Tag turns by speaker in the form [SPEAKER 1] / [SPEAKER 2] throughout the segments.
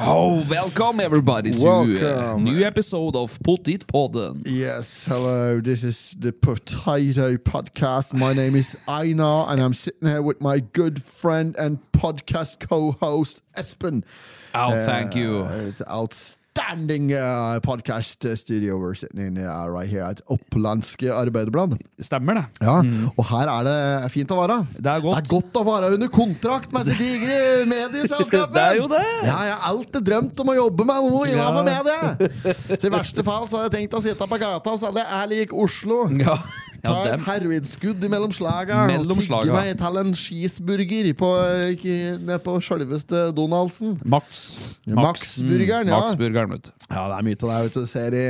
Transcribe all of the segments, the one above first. [SPEAKER 1] Oh, welcome everybody to a
[SPEAKER 2] Welcome.
[SPEAKER 1] new episode of Potitpodden.
[SPEAKER 2] Yes, hello. This is the Potato Podcast. My name is Einar, and I'm sitting here with my good friend and podcast co-host Espen.
[SPEAKER 1] Oh, thank you.
[SPEAKER 2] Uh, it's outstanding uh, podcast uh, studio we're sitting in uh, right here at Opplandske Arbeiderblad.
[SPEAKER 1] Stemmer det.
[SPEAKER 2] Ja, og her er det fint å være.
[SPEAKER 1] Mm. Det er godt.
[SPEAKER 2] Det er godt å være under kontrakt med disse digre medieselskapene!
[SPEAKER 1] Det er jo det.
[SPEAKER 2] Ja, jeg har alltid drømt om å jobbe med noe innenfor media! Så i verste fall så hadde jeg tenkt å sitte på gata og selge æl lik Oslo.
[SPEAKER 1] Ja,
[SPEAKER 2] Ta et
[SPEAKER 1] ja dem.
[SPEAKER 2] hervidskudd mellom slaga og
[SPEAKER 1] Mellom slaga.
[SPEAKER 2] tigge meg til en cheeseburger på, ikke- ned på sjølveste Donaldsen.
[SPEAKER 1] Max. mm,
[SPEAKER 2] Max-burgeren, ja.
[SPEAKER 1] Max-burgeren, vet du.
[SPEAKER 2] Ja, det er mye av det her, vet du. Du Ser i,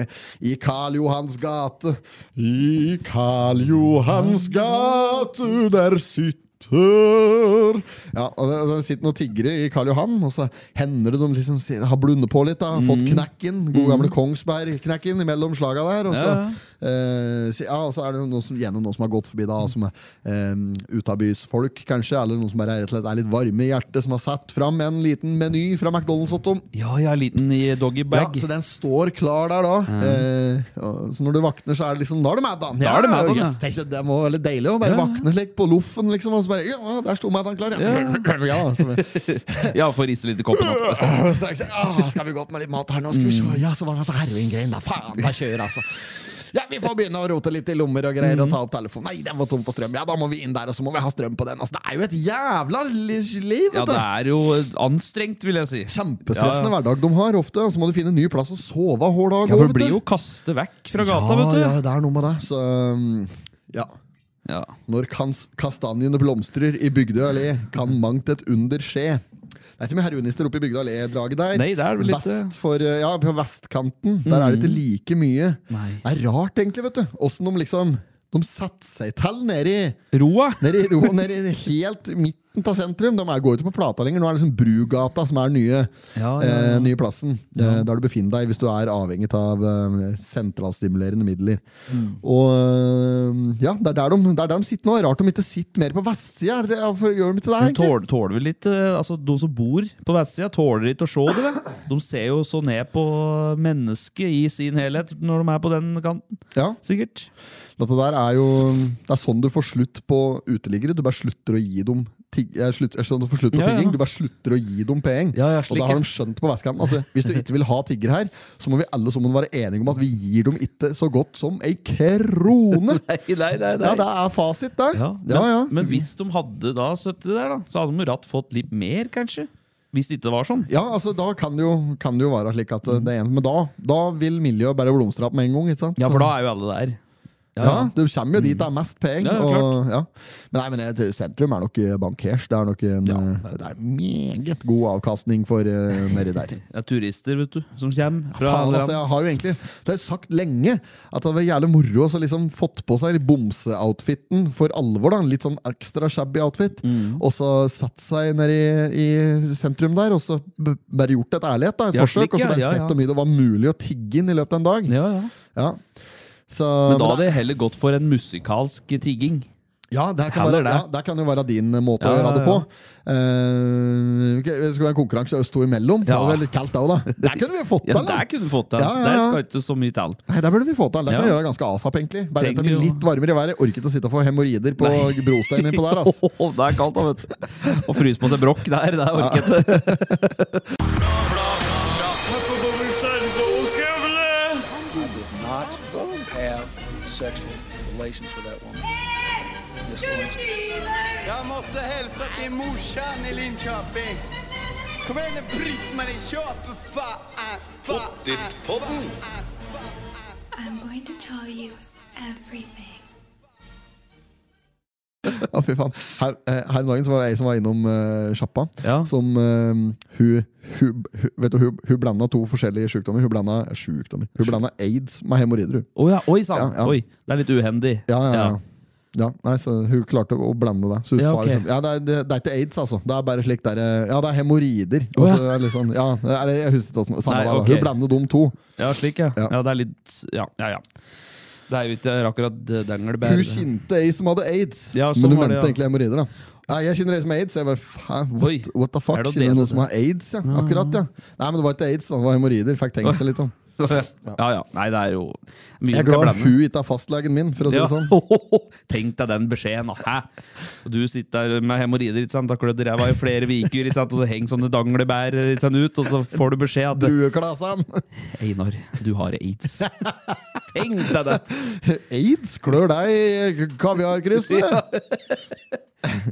[SPEAKER 2] i Karl Johans gate. I Karl Johans gate, der sitter Ja, og det, det sitter noen tiggere i Karl Johan, og så hender det de liksom si- har blundet på litt. da Fått knekken. God gamle Kongsberg-knekken mellom slaga der. Og så,
[SPEAKER 1] Ja, ja.
[SPEAKER 2] eh, si- ja, og så er det noen som, gjerne noen som har gått forbi, da, som er eh, utabysfolk, kanskje. Eller noen som bare er, rett og slett er litt varme i hjertet, som har satt fram en liten meny fra McDonald's. Otto.
[SPEAKER 1] Ja, jeg er liten i doggybag.
[SPEAKER 2] Ja, så den står klar der da. Eh, og- så når du vakner, så er det liksom Da er du mad, da.
[SPEAKER 1] Mm. Da er du mad, da, ja.
[SPEAKER 2] jøss, det, er ikke- det må være litt deilig å bare
[SPEAKER 1] Ja.
[SPEAKER 2] vakne slik på loffen, liksom. Og så bare Ja, der sto mad, han klar, ja. ja så,
[SPEAKER 1] Ja, får risse litt i koppen. opp.
[SPEAKER 2] så jeg, sier, «Åh, skal vi gå opp med litt mat her nå? Skal vi
[SPEAKER 1] Mm.
[SPEAKER 2] se. Ja, så var det dette heroingreien, da. Faen, da kjører, altså. Ja, Vi får begynne å rote litt i lommer og
[SPEAKER 1] Mm.
[SPEAKER 2] greier og ta opp telefonen. Nei, den var tom for strøm. Ja, da må vi inn der, og så må vi ha strøm på den. Altså, det er jo et jævla li- liv,
[SPEAKER 1] Ja,
[SPEAKER 2] vet du.
[SPEAKER 1] det er jo eh, anstrengt, vil jeg si.
[SPEAKER 2] Kjempestressende
[SPEAKER 1] Ja,
[SPEAKER 2] hverdag de har ofte. Så må du finne en ny plass å sove hver dag.
[SPEAKER 1] Ja,
[SPEAKER 2] også,
[SPEAKER 1] for
[SPEAKER 2] vet
[SPEAKER 1] det blir
[SPEAKER 2] du.
[SPEAKER 1] jo kastet vekk fra gata, vet
[SPEAKER 2] Ja,
[SPEAKER 1] du.
[SPEAKER 2] det er noe med det. Så um, ja.
[SPEAKER 1] Ja.
[SPEAKER 2] Når kans kastanjene blomstrer i Bygdøy allé, kan mangt et under skje. Det er ikke mye heroinister oppe i Bygdøy allé-draget der.
[SPEAKER 1] Nei, det er vel litt eh, Mm.
[SPEAKER 2] Vest for, uh, ja, På vestkanten Der er det ikke like mye.
[SPEAKER 1] Nei.
[SPEAKER 2] Det er rart, egentlig. vet du Åssen de liksom De setter seg til nedi
[SPEAKER 1] Roa.
[SPEAKER 2] Nede i ro, nede i helt midten av sentrum. De er, går ikke på Plata lenger. Nå er det liksom Brugata som er den nye,
[SPEAKER 1] Ja, ja, ja.
[SPEAKER 2] Eh, nye plassen. Eh, der du befinner deg hvis du er avhengig av eh, sentralstimulerende midler.
[SPEAKER 1] Mm.
[SPEAKER 2] Og eh, ja, det er der de, det er der de sitter nå. Rart de ikke sitter mer på vestsida. Er det det- Hvorfor gjør de ikke det?
[SPEAKER 1] Men
[SPEAKER 2] egentlig?
[SPEAKER 1] tåler, tåler vel litt eh, Altså, De som bor på vestsida, tåler ikke å se det. vel? De ser jo så ned på mennesket i sin helhet når de er på den kanten.
[SPEAKER 2] Ja,
[SPEAKER 1] Sikkert.
[SPEAKER 2] dette der er jo Det er sånn du får slutt på uteliggere. Du bare slutter å gi dem tig, eh, slutt, eh, sånn du får slutt på
[SPEAKER 1] Ja, ja.
[SPEAKER 2] tigging. Du bare slutter å gi dem penger.
[SPEAKER 1] Ja, ja,
[SPEAKER 2] og
[SPEAKER 1] slik,
[SPEAKER 2] da har
[SPEAKER 1] ja.
[SPEAKER 2] de skjønt på vestkanten. Altså, hvis du ikke vil ha tigger her, så må vi alle sammen være enige om at vi gir dem ikke så godt som ei krone.
[SPEAKER 1] Nei, nei, nei.
[SPEAKER 2] Ja, det er fasit, det. Ja,
[SPEAKER 1] Ja, men,
[SPEAKER 2] ja, ja.
[SPEAKER 1] men hvis de hadde da 70 der, da, så hadde de ratt fått litt mer, kanskje? Hvis det ikke var sånn.
[SPEAKER 2] altså Da kan det jo, kan det jo være slik at eh, det er en Men da, da vil miljøet bare blomstre opp med en gang. ikke sant?
[SPEAKER 1] Ja,
[SPEAKER 2] Så-
[SPEAKER 1] for da er jo alle der.
[SPEAKER 2] Ja, Du kommer jo dit det er mest penger.
[SPEAKER 1] Ja, ja,
[SPEAKER 2] og- ja. Men, nei, men jeg tror sentrum er nok eh, bankers. Det er nok en eh, det er meget god avkastning for eh, nedi der.
[SPEAKER 1] Det er turister, vet du, som kommer. Fra
[SPEAKER 2] Faen,
[SPEAKER 1] alle
[SPEAKER 2] altså,
[SPEAKER 1] land.
[SPEAKER 2] jeg har jo egentlig Det har jeg sagt lenge at det var jævlig moro å så liksom fått på seg bomseoutfiten for alvor. da En Litt sånn ekstra shabby outfit.
[SPEAKER 1] Mm.
[SPEAKER 2] Og så satt seg nede i, i sentrum der og så b- bare gjort et ærlighet da, et
[SPEAKER 1] Ja,
[SPEAKER 2] forsøk.
[SPEAKER 1] slik,
[SPEAKER 2] Og så
[SPEAKER 1] ja,
[SPEAKER 2] bare
[SPEAKER 1] ja, ja.
[SPEAKER 2] sett hvor mye det var mulig å tigge inn i løpet av en dag.
[SPEAKER 1] ja, ja.
[SPEAKER 2] Ja. Så,
[SPEAKER 1] Men da
[SPEAKER 2] men
[SPEAKER 1] hadde jeg heller gått for en musikalsk tigging.
[SPEAKER 2] Ja, det kan,
[SPEAKER 1] Heller
[SPEAKER 2] være,
[SPEAKER 1] det.
[SPEAKER 2] ja, det kan jo være din måte å
[SPEAKER 1] Ja,
[SPEAKER 2] gjøre det
[SPEAKER 1] ja,
[SPEAKER 2] på.
[SPEAKER 1] ja.
[SPEAKER 2] Eh, ok, det skulle være en konkurranse oss to imellom. Det
[SPEAKER 1] Ja.
[SPEAKER 2] var vel litt kaldt da òg, da. Der kunne vi fått
[SPEAKER 1] Ja,
[SPEAKER 2] til! da.
[SPEAKER 1] Der kunne du fått det.
[SPEAKER 2] Ja, ja,
[SPEAKER 1] Der
[SPEAKER 2] ja.
[SPEAKER 1] skal ikke så mye til.
[SPEAKER 2] Nei, der burde vi få til. Det kan
[SPEAKER 1] Ja.
[SPEAKER 2] vi gjøre ganske asap, egentlig. Bare
[SPEAKER 1] Trenger
[SPEAKER 2] at det blir
[SPEAKER 1] jo-
[SPEAKER 2] litt varmere i været. Orker ikke å sitte og få hemoroider på brosteinen innpå der. altså. ass.
[SPEAKER 1] det er kaldt, da, vet du. Å fryse på seg brokk der, det orker jeg ikke.
[SPEAKER 3] not have sexual relations with that woman. Miss Lewinsky.
[SPEAKER 4] Jeg måtte hilse til morsan i Linköping. Kom igjen, Britt-Marie, kjør for faen! Pottit-podden!
[SPEAKER 5] I'm going to tell you everything.
[SPEAKER 2] Ja, fy faen. Her, eh, her om dagen så var det ei som var innom eh, sjappa.
[SPEAKER 1] Ja.
[SPEAKER 2] Som eh, hun, hun, hun Vet du, hun, hun blanda to forskjellige sjukdommer. Hun blanda sjukdommer. Hun blanda aids med hemoroider. hun.
[SPEAKER 1] Å ja, oi sann!
[SPEAKER 2] Ja, ja.
[SPEAKER 1] Oi, det er litt uhendig.
[SPEAKER 2] Ja, ja, ja. ja, nei, så Hun klarte å blande det. Så hun
[SPEAKER 1] Ja,
[SPEAKER 2] sa
[SPEAKER 1] ok.
[SPEAKER 2] liksom, ja, det, er, det, det er ikke aids, altså. Det er bare slik der, eh, Ja, det er hemoroider.
[SPEAKER 1] Å, ja.
[SPEAKER 2] Og så er det litt sånn, ja, eller jeg husker ikke åssen. Samme
[SPEAKER 1] Nei,
[SPEAKER 2] det, da.
[SPEAKER 1] ok.
[SPEAKER 2] Hun blander de to.
[SPEAKER 1] Ja, slik, ja. ja.
[SPEAKER 2] Ja.
[SPEAKER 1] det er litt Ja, ja. ja. Det er jo ikke akkurat eh,
[SPEAKER 2] Hun
[SPEAKER 1] dengelbær.
[SPEAKER 2] kjente ei som hadde aids,
[SPEAKER 1] Ja, sånn
[SPEAKER 2] men hun
[SPEAKER 1] var
[SPEAKER 2] mente
[SPEAKER 1] det, ja.
[SPEAKER 2] egentlig hemoroider. da. Nei, jeg kjenner ei som har aids. Jeg bare, faen,
[SPEAKER 1] Oi.
[SPEAKER 2] what, what the
[SPEAKER 1] Er
[SPEAKER 2] fuck?
[SPEAKER 1] det Ah.
[SPEAKER 2] Kjenner
[SPEAKER 1] det
[SPEAKER 2] du noen
[SPEAKER 1] det-
[SPEAKER 2] som har aids? Ja. Akkurat, ja. Nei, men det var ikke aids, da. det var hemoroider. Fikk tenkt seg litt om.
[SPEAKER 1] Ja, ja. Nei, det er jo mye
[SPEAKER 2] Jeg er
[SPEAKER 1] man kan
[SPEAKER 2] glad
[SPEAKER 1] blande.
[SPEAKER 2] hun ikke er fastlegen min, for å si
[SPEAKER 1] Ja.
[SPEAKER 2] det sånn.
[SPEAKER 1] Tenk deg den beskjeden, da. Hæ? Og du sitter der med hemoroider, ikke sant? da klødde ræva i flere uker, ikke sant? og så henger sånne danglebær ikke sant, ut, og så får du beskjed at
[SPEAKER 2] Drueklasen!
[SPEAKER 1] Einar, du har aids. Tenk deg det!
[SPEAKER 2] Aids klør deg i kaviarkrysset! Ja.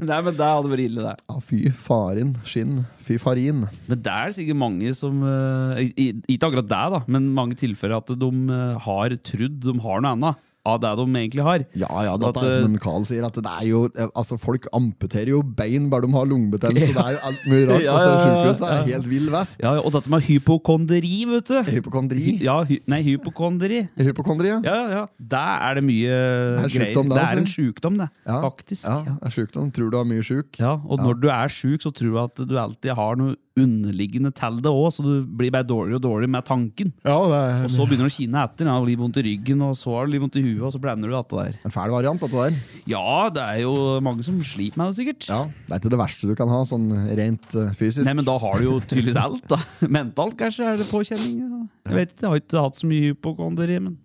[SPEAKER 1] Nei, men det hadde vært ille, det.
[SPEAKER 2] fy farin. Skinn. Fy farin.
[SPEAKER 1] Men det er sikkert mange som eh, i- i- Ikke akkurat deg, da, men mange tilfeller at de eh, har trudd de har noe annet av det de egentlig har.
[SPEAKER 2] Ja, ja,
[SPEAKER 1] At,
[SPEAKER 2] dette er
[SPEAKER 1] eh,
[SPEAKER 2] som en Carl sier, at det er jo Altså, folk amputerer jo bein bare de har lungebetennelse, det er jo alt mulig rart.
[SPEAKER 1] Ja,
[SPEAKER 2] Altså,
[SPEAKER 1] ja, ja,
[SPEAKER 2] Sjukehuset
[SPEAKER 1] ja.
[SPEAKER 2] er helt vill vest.
[SPEAKER 1] Ja, Og dette med hypokondri, vet du.
[SPEAKER 2] Hypokondri.
[SPEAKER 1] Hy- Ja, hy nei, hypokondri.
[SPEAKER 2] Hypokondri, ja.
[SPEAKER 1] Ja, ja, ja. Der er det
[SPEAKER 2] Det
[SPEAKER 1] mye
[SPEAKER 2] er en
[SPEAKER 1] greier.
[SPEAKER 2] sjukdom, det,
[SPEAKER 1] det er
[SPEAKER 2] altså.
[SPEAKER 1] en sjukdom, det.
[SPEAKER 2] Ja,
[SPEAKER 1] Faktisk.
[SPEAKER 2] Ja,
[SPEAKER 1] Ja.
[SPEAKER 2] det er sjukdom. Tror du er mye sjuk?
[SPEAKER 1] Ja, og når du er sjuk, så tror du at du alltid har noe underliggende til det òg, så du blir bare dårligere og dårligere med tanken.
[SPEAKER 2] Ja, det er
[SPEAKER 1] Og så begynner du å kine etter. Ja, litt vondt i ryggen, og så har du litt vondt i huet, og så blander du dette der.
[SPEAKER 2] en fæl variant, dette der.
[SPEAKER 1] Ja, det er jo mange som sliter med det, sikkert.
[SPEAKER 2] Det er ikke det verste du kan ha, sånn rent eh, fysisk.
[SPEAKER 1] Nei, men da har du jo tydeligvis alt, da. Mentalt kanskje er det påkjenning. ja. Jeg vet ikke, jeg har ikke hatt så mye hypokondri, men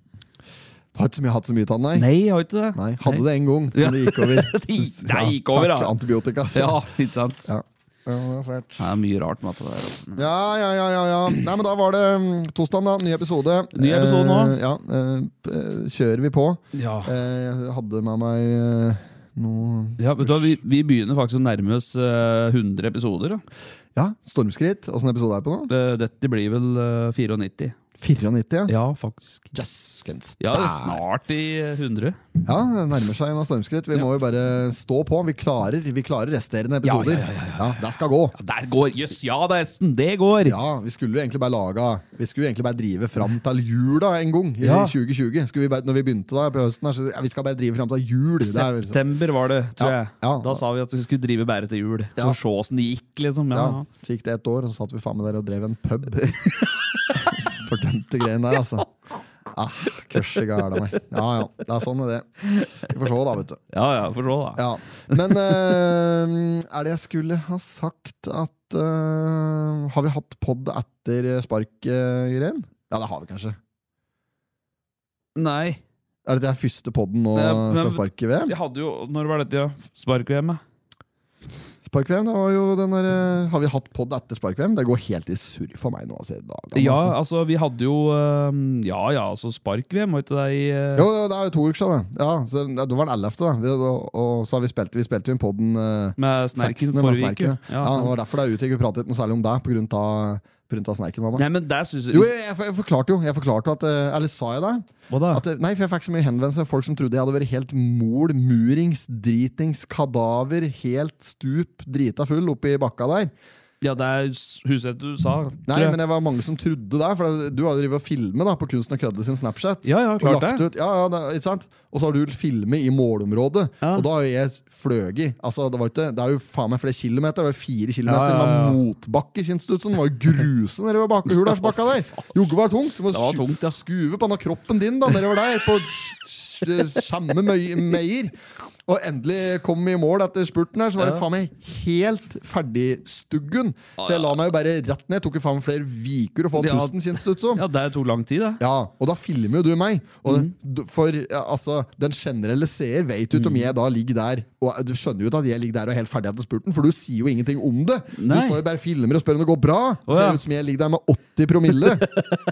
[SPEAKER 2] Har ikke så mye, hatt så mye tann, nei.
[SPEAKER 1] Nei, jeg har ikke det.
[SPEAKER 2] Nei, Hadde det en gang, men det gikk over.
[SPEAKER 1] Det gikk- det gikk over,
[SPEAKER 2] ja.
[SPEAKER 1] da.
[SPEAKER 2] Fuck antibiotika. altså.
[SPEAKER 1] Ja, ikke sant.
[SPEAKER 2] Ja. Ja, det er svært.
[SPEAKER 1] Det er mye rart med dette der, altså.
[SPEAKER 2] Ja, ja, ja, ja, ja. Nei, men da var det mm, tosdagen, da. Ny episode.
[SPEAKER 1] Ny episode nå.
[SPEAKER 2] Eh, ja, eh, p- eh, kjører vi på.
[SPEAKER 1] Ja.
[SPEAKER 2] Eh, jeg hadde med meg eh, noe
[SPEAKER 1] Ja, vet du, hva, vi, vi begynner faktisk å nærme oss eh, 100 episoder. Da.
[SPEAKER 2] Ja, stormskritt. Åssen episode er det på nå?
[SPEAKER 1] Det, dette blir vel eh, 94.
[SPEAKER 2] 94, ja.
[SPEAKER 1] Ja, faktisk.
[SPEAKER 2] Jøsskens
[SPEAKER 1] Ja, det er
[SPEAKER 2] dæ-
[SPEAKER 1] snart i eh, 100.
[SPEAKER 2] Ja, det nærmer seg noen stormskritt. Vi må jo bare stå på. Vi klarer, vi klarer resterende
[SPEAKER 1] Ja, ja,
[SPEAKER 2] episoder.
[SPEAKER 1] ja,
[SPEAKER 2] det skal gå.
[SPEAKER 1] Ja, der går! Jøss, ja da, Esten! Det går!
[SPEAKER 2] Ja, Vi skulle jo egentlig bare laga Vi skulle jo egentlig bare drive fram til jula en gang. I
[SPEAKER 1] Ja.
[SPEAKER 2] 2020 skulle vi bare, Når vi begynte da på høsten, her, så ja, vi skal bare drive fram til jul. Det er, vel sånn.
[SPEAKER 1] September var det, tror
[SPEAKER 2] Ja,
[SPEAKER 1] jeg.
[SPEAKER 2] ja.
[SPEAKER 1] Da sa vi at vi skulle drive bæret til jul.
[SPEAKER 2] Ja.
[SPEAKER 1] Så se åssen det gikk, liksom. Ja.
[SPEAKER 2] ja, Så gikk det ett år, og så satt vi faen meg der og drev en pub. Fordømte greiene der, altså. Ah, Kurset gæla meg. Ja ja, det er sånn det er. Vi får se, da, vet du.
[SPEAKER 1] ja, ja, får se, da.
[SPEAKER 2] Ja. Men eh, er det jeg skulle ha sagt at eh, Har vi hatt pod etter spark-greien? ja, det har vi kanskje.
[SPEAKER 1] Nei.
[SPEAKER 2] Er det det er første podden nå
[SPEAKER 1] Nei, men-
[SPEAKER 2] siden spark-VM?
[SPEAKER 1] Vi hadde jo Når var dette, ja? Spark-VM? ja?
[SPEAKER 2] Spark-VM, det var jo den der, eh, Har vi hatt pod etter spark-VM? Det går helt i surr for meg nå. Altså, i dag, altså.
[SPEAKER 1] Ja, altså, vi hadde jo eh, Ja ja, altså, Spark-VM var ikke det i eh,
[SPEAKER 2] Jo, jo, det er jo to uker siden. det. Ja, så det det var den 11., da. Vi, og, og så har vi spilt, vi spilte jo inn podden eh,
[SPEAKER 1] Med
[SPEAKER 2] 16.,
[SPEAKER 1] Snerken
[SPEAKER 2] med
[SPEAKER 1] forrige uke.
[SPEAKER 2] Snerken. Ja, det var derfor det utgikk. Vi pratet ikke noe særlig om deg pga. Snerken. Mamma.
[SPEAKER 1] Nei, men der syns
[SPEAKER 2] Jo, jeg, jeg, jeg forklarte jo. Jeg forklarte at, eh, eller sa jeg det?
[SPEAKER 1] Hva da?
[SPEAKER 2] At, eh, nei, for jeg fikk så mye henvendelser av folk som trodde jeg hadde vært helt mol, murings, dritings, kadaver, helt stup, drita full oppi bakka der.
[SPEAKER 1] Ja, det er s- Huseth du sa.
[SPEAKER 2] Nei,
[SPEAKER 1] tror jeg.
[SPEAKER 2] men det var mange som trodde det. For du har jo drevet og filmet da, på Kunsten og kødde sin Snapchat.
[SPEAKER 1] Ja, ja, klart
[SPEAKER 2] og lagt
[SPEAKER 1] det.
[SPEAKER 2] Ut, ja, ja, det, ikke sant? Og så har du filmet i målområdet,
[SPEAKER 1] Ja.
[SPEAKER 2] og da har jo jeg fløget. Altså, det, var ikke, det er jo faen meg flere kilometer. Det var jo fire kilometer
[SPEAKER 1] Ja, ja, ja.
[SPEAKER 2] med motbakke, kjennes det ut som. Det var jo grusen nede ved Bakehularsbakka der. Jogge var tungt. Du må
[SPEAKER 1] Det var
[SPEAKER 2] sju-
[SPEAKER 1] tungt, ja.
[SPEAKER 2] skuve på denne kroppen din da, nedover der, på s- s- samme møy- meier. Og endelig kom vi i mål etter spurten her, så var det
[SPEAKER 1] Ja.
[SPEAKER 2] faen meg helt ferdigstuggen. Så jeg la meg jo bare rett ned. Tok jo faen meg flere viker å få
[SPEAKER 1] Ja.
[SPEAKER 2] pusten, kjennes det ut som.
[SPEAKER 1] Ja, Mhm. det tok lang tid, det.
[SPEAKER 2] Ja, og da filmer jo du meg. Og d- For ja, altså, den generelle seer vet jo ikke
[SPEAKER 1] Mhm.
[SPEAKER 2] om jeg da ligger der Og eh, Du skjønner jo ikke at jeg ligger der og er helt ferdig etter spurten, for du sier jo ingenting om det. Du
[SPEAKER 1] Nei.
[SPEAKER 2] står jo bare og filmer og spør om det går bra.
[SPEAKER 1] ja.
[SPEAKER 2] Ser ut som jeg ligger der med 80 promille.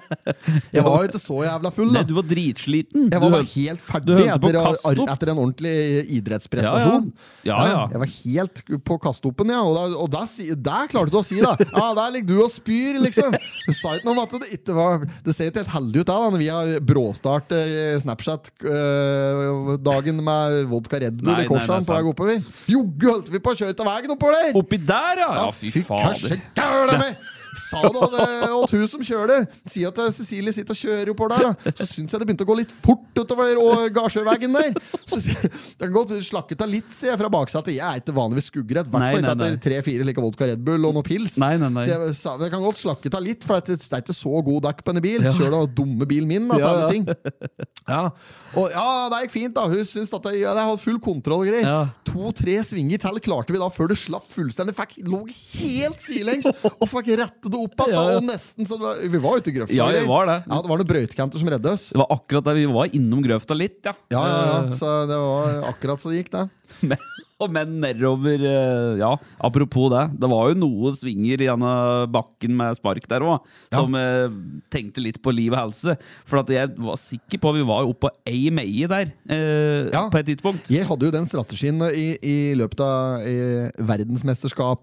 [SPEAKER 2] Jeg var jo ikke så jævla full,
[SPEAKER 1] Nei,
[SPEAKER 2] da.
[SPEAKER 1] du var dritsliten.
[SPEAKER 2] Jeg var
[SPEAKER 1] Du-
[SPEAKER 2] bare helt ferdig
[SPEAKER 1] du hørte på
[SPEAKER 2] etter,
[SPEAKER 1] kastopp.
[SPEAKER 2] etter en ordentlig
[SPEAKER 1] ja, ja.
[SPEAKER 2] idrettsprestasjon.
[SPEAKER 1] ja, ja.
[SPEAKER 2] Jeg var helt på kastoppen, ja. Og, da, og der, si- der klarte du å si det! Ja, der ligger du og spyr, liksom! Du sa ikke noe om at det ikke var Det ser ikke helt heldig ut, da, da, når vi har bråstart eh, Snapchat-dagen med vodka Red Bull
[SPEAKER 1] Nei,
[SPEAKER 2] i
[SPEAKER 1] nei, nei,
[SPEAKER 2] korsene på vei
[SPEAKER 1] sant.
[SPEAKER 2] oppover. Jogge holdt vi på å kjøre til veien oppover der!
[SPEAKER 1] Oppi der, ja! Ja, fy
[SPEAKER 2] kanskje
[SPEAKER 1] fader.
[SPEAKER 2] gæren er meg! Sa da det åt hun som kjører det. Si at eh, Cecilie sitter og kjører oppover der. Da. Så syns jeg det begynte å gå litt fort utover eh, og Gardsjøveggen der. Så sier jeg, det kan godt slakket av litt, sier jeg fra baksetet. Jeg er ikke vanligvis skuggredd. I
[SPEAKER 1] Nei,
[SPEAKER 2] hvert fall ikke
[SPEAKER 1] nei, nei.
[SPEAKER 2] etter tre-fire like vodka Red Bull og noe pils.
[SPEAKER 1] Nei, nei, nei.
[SPEAKER 2] Så jeg, sa, men jeg kan godt slakket av litt, for det er ikke- det er ikke så god dekk på denne bil. Kjør den dumme bilen min. Da, til
[SPEAKER 1] Ja,
[SPEAKER 2] alle
[SPEAKER 1] ja.
[SPEAKER 2] ting. Ja. Og ja, det gikk fint, da. Hun syntes at jeg, ja, jeg hadde full kontroll. og greier
[SPEAKER 1] Ja.
[SPEAKER 2] To-tre svinger til klarte vi da før det slapp fullstendig. Fikk, lå helt sidelengs og fikk rette det opp igjen. da,
[SPEAKER 1] Ja, ja.
[SPEAKER 2] Og nesten så det var, Vi var ute i grøfta.
[SPEAKER 1] Ja,
[SPEAKER 2] og
[SPEAKER 1] det
[SPEAKER 2] greier.
[SPEAKER 1] var det.
[SPEAKER 2] Ja, det var noen brøytekanter som redde oss.
[SPEAKER 1] Det var akkurat der vi var innom grøfta litt, ja.
[SPEAKER 2] Ja, ja, ja. Så det var akkurat så det gikk, det.
[SPEAKER 1] Men, og men nedover eh, Ja, apropos det. Det var jo noe svinger gjennom bakken med spark der òg, som eh, tenkte litt på liv og helse. For at jeg var sikker på Vi var jo oppå ei meie der eh,
[SPEAKER 2] Ja.
[SPEAKER 1] på et tidspunkt.
[SPEAKER 2] Jeg hadde jo den strategien i, i løpet av eh,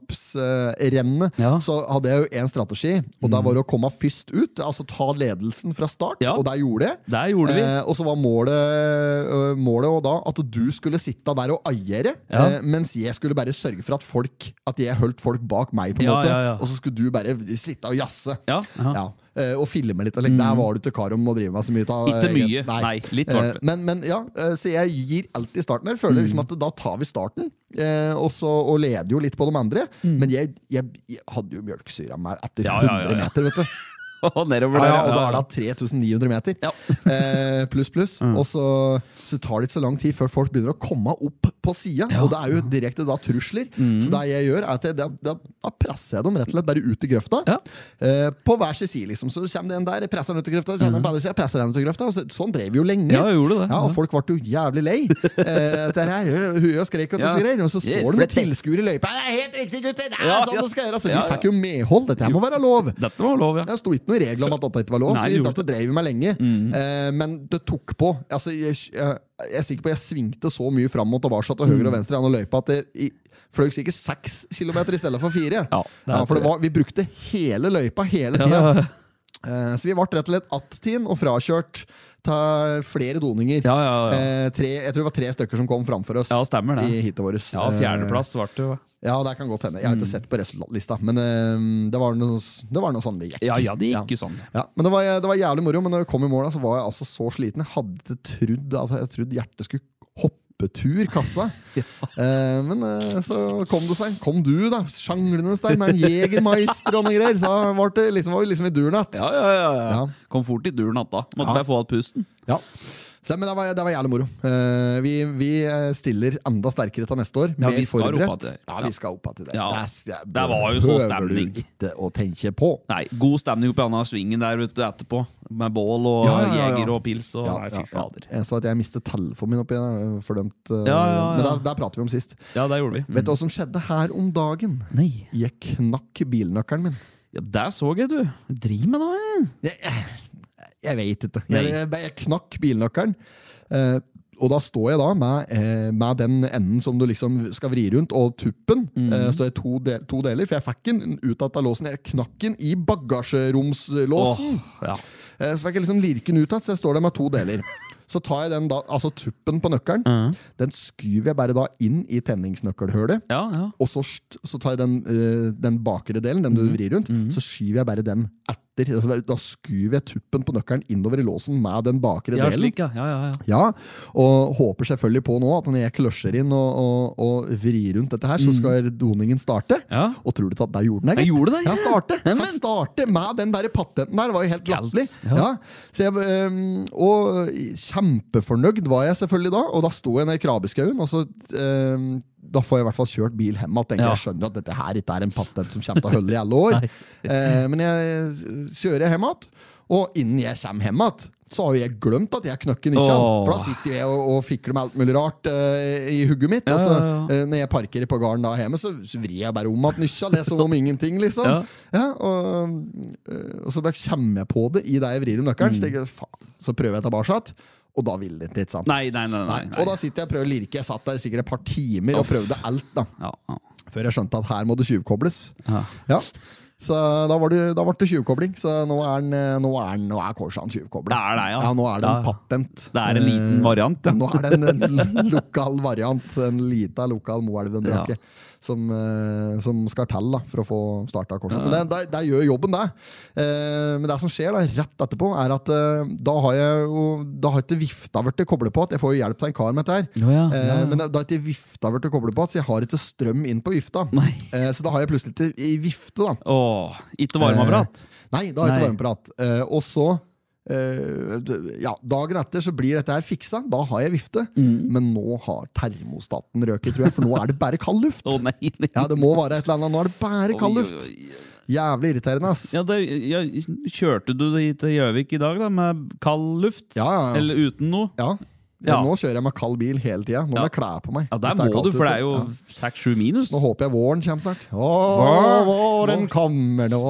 [SPEAKER 2] verdensmesterskapsrennet.
[SPEAKER 1] Ja. Mm.
[SPEAKER 2] Så hadde jeg jo én strategi, og det var å komme først ut. Altså ta ledelsen fra start,
[SPEAKER 1] Ja.
[SPEAKER 2] og det gjorde jeg.
[SPEAKER 1] Der gjorde vi.
[SPEAKER 2] Eh, og så var målet, eh, målet og da at du skulle sitte der og aiere,
[SPEAKER 1] Ja.
[SPEAKER 2] eh, mens jeg skulle bare sørge for at folk At jeg holdt folk bak meg, på en
[SPEAKER 1] Ja,
[SPEAKER 2] måte.
[SPEAKER 1] ja, ja.
[SPEAKER 2] Og så skulle du bare sitte og jazze.
[SPEAKER 1] Ja, ja.
[SPEAKER 2] Eh, og filme litt. Og like, Der var du til kar om å drive med så mye. Ta,
[SPEAKER 1] Ikke mye. Nei, litt var det. Mm.
[SPEAKER 2] men, men ja, eh, så jeg gir alltid starten her. Føler liksom at da tar vi starten, eh, og, så, og leder jo litt på de andre. Men jeg, jeg, jeg hadde jo mjølkesyra meg etter
[SPEAKER 1] Mm. Ja, ja, ja,
[SPEAKER 2] 100
[SPEAKER 1] ja.
[SPEAKER 2] meter, vet du.
[SPEAKER 1] Og nedover
[SPEAKER 2] Ja,
[SPEAKER 1] der.
[SPEAKER 2] ja, og da
[SPEAKER 1] ja. Mm.
[SPEAKER 2] er det 3900 meter.
[SPEAKER 1] Ja.
[SPEAKER 2] eh, pluss, pluss. Og så, så tar det ikke så lang tid før folk begynner å komme opp på sida. Og det er jo direkte da trusler.
[SPEAKER 1] Mm.
[SPEAKER 2] Så det jeg gjør, er at jeg, da, da, da presser jeg dem rett og slett bare ut i grøfta.
[SPEAKER 1] Ja.
[SPEAKER 2] Eh, på hver sin side, liksom. Så kommer det en der, jeg presser den ut i grøfta. Så kommer den på andre siden, jeg presser den ut i grøfta. Og så, sånn drev vi jo lenge.
[SPEAKER 1] Mm. Ja, vi gjorde det.
[SPEAKER 2] Ja, og
[SPEAKER 1] Ja.
[SPEAKER 2] folk ble jo jævlig lei. Eh, etter det her, Hu- hu og skrek og
[SPEAKER 1] Ja.
[SPEAKER 2] tusen greier. Og så
[SPEAKER 1] Yeah,
[SPEAKER 2] står det noen
[SPEAKER 1] flett det.
[SPEAKER 2] tilskuere i løypa. Det er helt riktig, gutter! Det er
[SPEAKER 1] Ja,
[SPEAKER 2] sånn
[SPEAKER 1] ja.
[SPEAKER 2] det skal gjøres! Så
[SPEAKER 1] Ja,
[SPEAKER 2] vi
[SPEAKER 1] ja.
[SPEAKER 2] fikk jo medhold. Dette her må være lov.
[SPEAKER 1] Dette var lov, ja.
[SPEAKER 2] Det sto ikke noe regler om at dette ikke var lov,
[SPEAKER 1] Nei, Mm. det
[SPEAKER 2] så
[SPEAKER 1] gjorde
[SPEAKER 2] dette drev vi med lenge. Eh, men det tok på. Altså, jeg, jeg, jeg er sikker på jeg svingte så mye fram og tilbake til
[SPEAKER 1] Mm.
[SPEAKER 2] høyre og venstre gjennom løypa at jeg fløy sikkert seks kilometer i stedet for fire.
[SPEAKER 1] Ja, det er
[SPEAKER 2] for det
[SPEAKER 1] det.
[SPEAKER 2] var, vi brukte hele løypa hele tida.
[SPEAKER 1] Ja, ja.
[SPEAKER 2] Eh, Så vi ble rett og slett attien og frakjørt til flere doninger.
[SPEAKER 1] Ja, ja, ja.
[SPEAKER 2] Eh, tre, jeg tror det var tre stykker som kom framfor oss
[SPEAKER 1] Ja, stemmer det.
[SPEAKER 2] i heatet vårt.
[SPEAKER 1] Ja, fjerdeplass Mm. ble det jo.
[SPEAKER 2] Eh, Ja, det kan godt hende. Jeg har ikke sett på resultatlista, men eh, det var noe, det var noe sånn det gikk.
[SPEAKER 1] Ja, ja, det gikk jo sånn.
[SPEAKER 2] Ja, men det var, eh, det var jævlig moro, men når vi kom i mål, da, så var jeg altså så sliten. Jeg hadde ikke trodd altså, Jeg trodde hjertet skulle hoppetur kassa. eh, men eh, så kom det seg. Kom du, da, sjanglende der med en jegermeister og noe greier. Så var det liksom, var vi liksom i durnatt.
[SPEAKER 1] Ja, ja, ja, ja.
[SPEAKER 2] Ja.
[SPEAKER 1] Kom fort i duren natta. Måtte
[SPEAKER 2] Ja.
[SPEAKER 1] bare få av pusten.
[SPEAKER 2] Ja. Så, men det var, det var jævlig moro. Eh, vi, vi eh, stiller enda sterkere til neste år.
[SPEAKER 1] Ja,
[SPEAKER 2] mer
[SPEAKER 1] vi skal
[SPEAKER 2] forberedt.
[SPEAKER 1] opp att det.
[SPEAKER 2] Ja, vi skal opp att det.
[SPEAKER 1] Ja.
[SPEAKER 2] s- jeg-
[SPEAKER 1] Det var jo så
[SPEAKER 2] behøver
[SPEAKER 1] stemning.
[SPEAKER 2] du ikke å tenke på.
[SPEAKER 1] Nei, god stemning oppe i denne svingen der vet du, etterpå. Med bål og
[SPEAKER 2] Ja, ja, ja, ja.
[SPEAKER 1] jeger og pils og Nei, fy fader.
[SPEAKER 2] Jeg så at jeg mistet telefonen min oppi der. Fordømt. eh,
[SPEAKER 1] Ja, ja,
[SPEAKER 2] Men
[SPEAKER 1] ja.
[SPEAKER 2] der, der prater vi om sist.
[SPEAKER 1] Ja, det gjorde vi.
[SPEAKER 2] Vet du hva som skjedde her om dagen?
[SPEAKER 1] Nei.
[SPEAKER 2] Jeg knakk bilnøkkelen min.
[SPEAKER 1] Ja, der så jeg, du. Driv med det, jeg.
[SPEAKER 2] Jeg, jeg vet ikke.
[SPEAKER 1] Nei.
[SPEAKER 2] Jeg, jeg, jeg knakk bilnøkkelen. Eh, og da står jeg da med, eh, med den enden som du liksom skal vri rundt, og tuppen. Eh,
[SPEAKER 1] Mhm.
[SPEAKER 2] står jeg to, del, to deler, for jeg fikk den ut av låsen. Jeg knakk den i
[SPEAKER 1] Åh,
[SPEAKER 2] bagasjeromslåsen.
[SPEAKER 1] ja.
[SPEAKER 2] Eh, Så fikk jeg liksom lirke den ut igjen, så jeg står der med to deler. Så tar jeg den da, altså tuppen på nøkkelen, den skyver jeg bare da inn i tenningsnøkkelhølet.
[SPEAKER 1] ja, ja.
[SPEAKER 2] Og så, st- så tar jeg den, eh, den bakre delen, den du
[SPEAKER 1] Mhm.
[SPEAKER 2] vrir rundt, så skyver jeg bare den etter. Altså, Da skyver jeg tuppen på nøkkelen innover i låsen med den bakre
[SPEAKER 1] Ja,
[SPEAKER 2] delen.
[SPEAKER 1] slik, ja. Ja, ja, ja.
[SPEAKER 2] Ja, og håper selvfølgelig på nå at når jeg kløsjer inn og, og, og vrir rundt dette
[SPEAKER 1] Mhm.
[SPEAKER 2] her, så skal doningen starte.
[SPEAKER 1] Ja.
[SPEAKER 2] Og tror du ikke at der gjorde den
[SPEAKER 1] Jeg
[SPEAKER 2] gitt?
[SPEAKER 1] gjorde det, ja.
[SPEAKER 2] Ja, starte.
[SPEAKER 1] Ja, men-
[SPEAKER 2] Han starter med den der patenten der, det var jo helt latterlig.
[SPEAKER 1] ja.
[SPEAKER 2] Ja. Så jeg, ehm, og kjempefornøyd var jeg selvfølgelig da, og da sto jeg nede i krabbeskauen, og så ehm, da får jeg i hvert fall kjørt bil hjem igjen. tenker
[SPEAKER 1] Ja.
[SPEAKER 2] Jeg skjønner at dette her ikke er en patent som kommer til å holde i alle år. eh, men jeg kjører hjem igjen, og innen jeg kommer hjem igjen, så har jo jeg glemt at jeg knøkken ikke han.
[SPEAKER 1] Åh.
[SPEAKER 2] For da sitter jo jeg og, og fikler med alt mulig rart eh, i hugget mitt. og så,
[SPEAKER 1] ja, ja.
[SPEAKER 2] eh, når jeg parkerer på gården da hjemme, så, så vrir jeg bare om at nysja. Det er som om ingenting, liksom.
[SPEAKER 1] Ja.
[SPEAKER 2] Ja, og, eh, og så bare kommer jeg på det i det jeg vrir om
[SPEAKER 1] Mm.
[SPEAKER 2] nøkkelen. Så, tenker jeg, faen, så prøver jeg tilbake, igjen, og da vil det ikke. ikke sant?
[SPEAKER 1] Nei, nei, nei. nei, nei.
[SPEAKER 2] Og da sitter jeg og prøver å lirke. Jeg satt der sikkert et par timer og prøvde alt. da
[SPEAKER 1] ja, ja.
[SPEAKER 2] Før jeg skjønte at her må det tjuvkobles.
[SPEAKER 1] Ja.
[SPEAKER 2] Ja. Så da, var det, da ble det tjuvkobling. Så nå er, den, eh, nå er, den- nå er Korsan tjuvkobla.
[SPEAKER 1] Det er det, ja.
[SPEAKER 2] ja, nå er det en
[SPEAKER 1] Ja.
[SPEAKER 2] patent.
[SPEAKER 1] Det er en liten
[SPEAKER 2] Eh,
[SPEAKER 1] variant, ja.
[SPEAKER 2] Nå er det en, en lokal variant. En lita lokal Moelven-brake.
[SPEAKER 1] Ja.
[SPEAKER 2] som, eh, som skal til da, for å få starta korset. Men det, det, det gjør jobben, det. Eh, men det som skjer da, rett etterpå, er at eh, da har jeg jo Da har ikke vifta blitt koblet på. At jeg får jo hjelp av en kar med dette her.
[SPEAKER 1] Ja, ja, ja,
[SPEAKER 2] Eh,
[SPEAKER 1] ja.
[SPEAKER 2] Men da har ikke vifta blitt koblet på, så jeg har ikke strøm inn på vifta.
[SPEAKER 1] Nei.
[SPEAKER 2] Eh, Så da har jeg plutselig ikke i vifte, da.
[SPEAKER 1] Åh, ikke varmeapparat?
[SPEAKER 2] Nei, da har jeg ikke
[SPEAKER 1] Nei.
[SPEAKER 2] varmeprat. Eh, og så eh, d- ja, Dagen etter så blir dette her fiksa. Da har jeg vifte.
[SPEAKER 1] Mm.
[SPEAKER 2] Men nå har termostaten røket, tror jeg, for nå er det bare kald luft.
[SPEAKER 1] Å nei, nei.
[SPEAKER 2] Ja, det må være et eller annet. Nå er det bare kald
[SPEAKER 1] Oi,
[SPEAKER 2] luft.
[SPEAKER 1] oi, oi.
[SPEAKER 2] Jævlig irriterende, ass.
[SPEAKER 1] Ja, der, ja, kjørte du det hit til Gjøvik i dag da, med kald luft?
[SPEAKER 2] Ja, ja, ja.
[SPEAKER 1] Eller uten noe?
[SPEAKER 2] Ja. Ja,
[SPEAKER 1] Ja.
[SPEAKER 2] Nå kjører jeg med kald bil hele tida. Nå må
[SPEAKER 1] Ja.
[SPEAKER 2] jeg kle på meg.
[SPEAKER 1] Ja,
[SPEAKER 2] hvis er
[SPEAKER 1] der må du,
[SPEAKER 2] kaldt
[SPEAKER 1] for det
[SPEAKER 2] ute.
[SPEAKER 1] er jo
[SPEAKER 2] Ja.
[SPEAKER 1] 6-7 minus.
[SPEAKER 2] Nå håper jeg våren kommer snart. Å,
[SPEAKER 1] Vår. Mm.
[SPEAKER 2] våren kommer nå.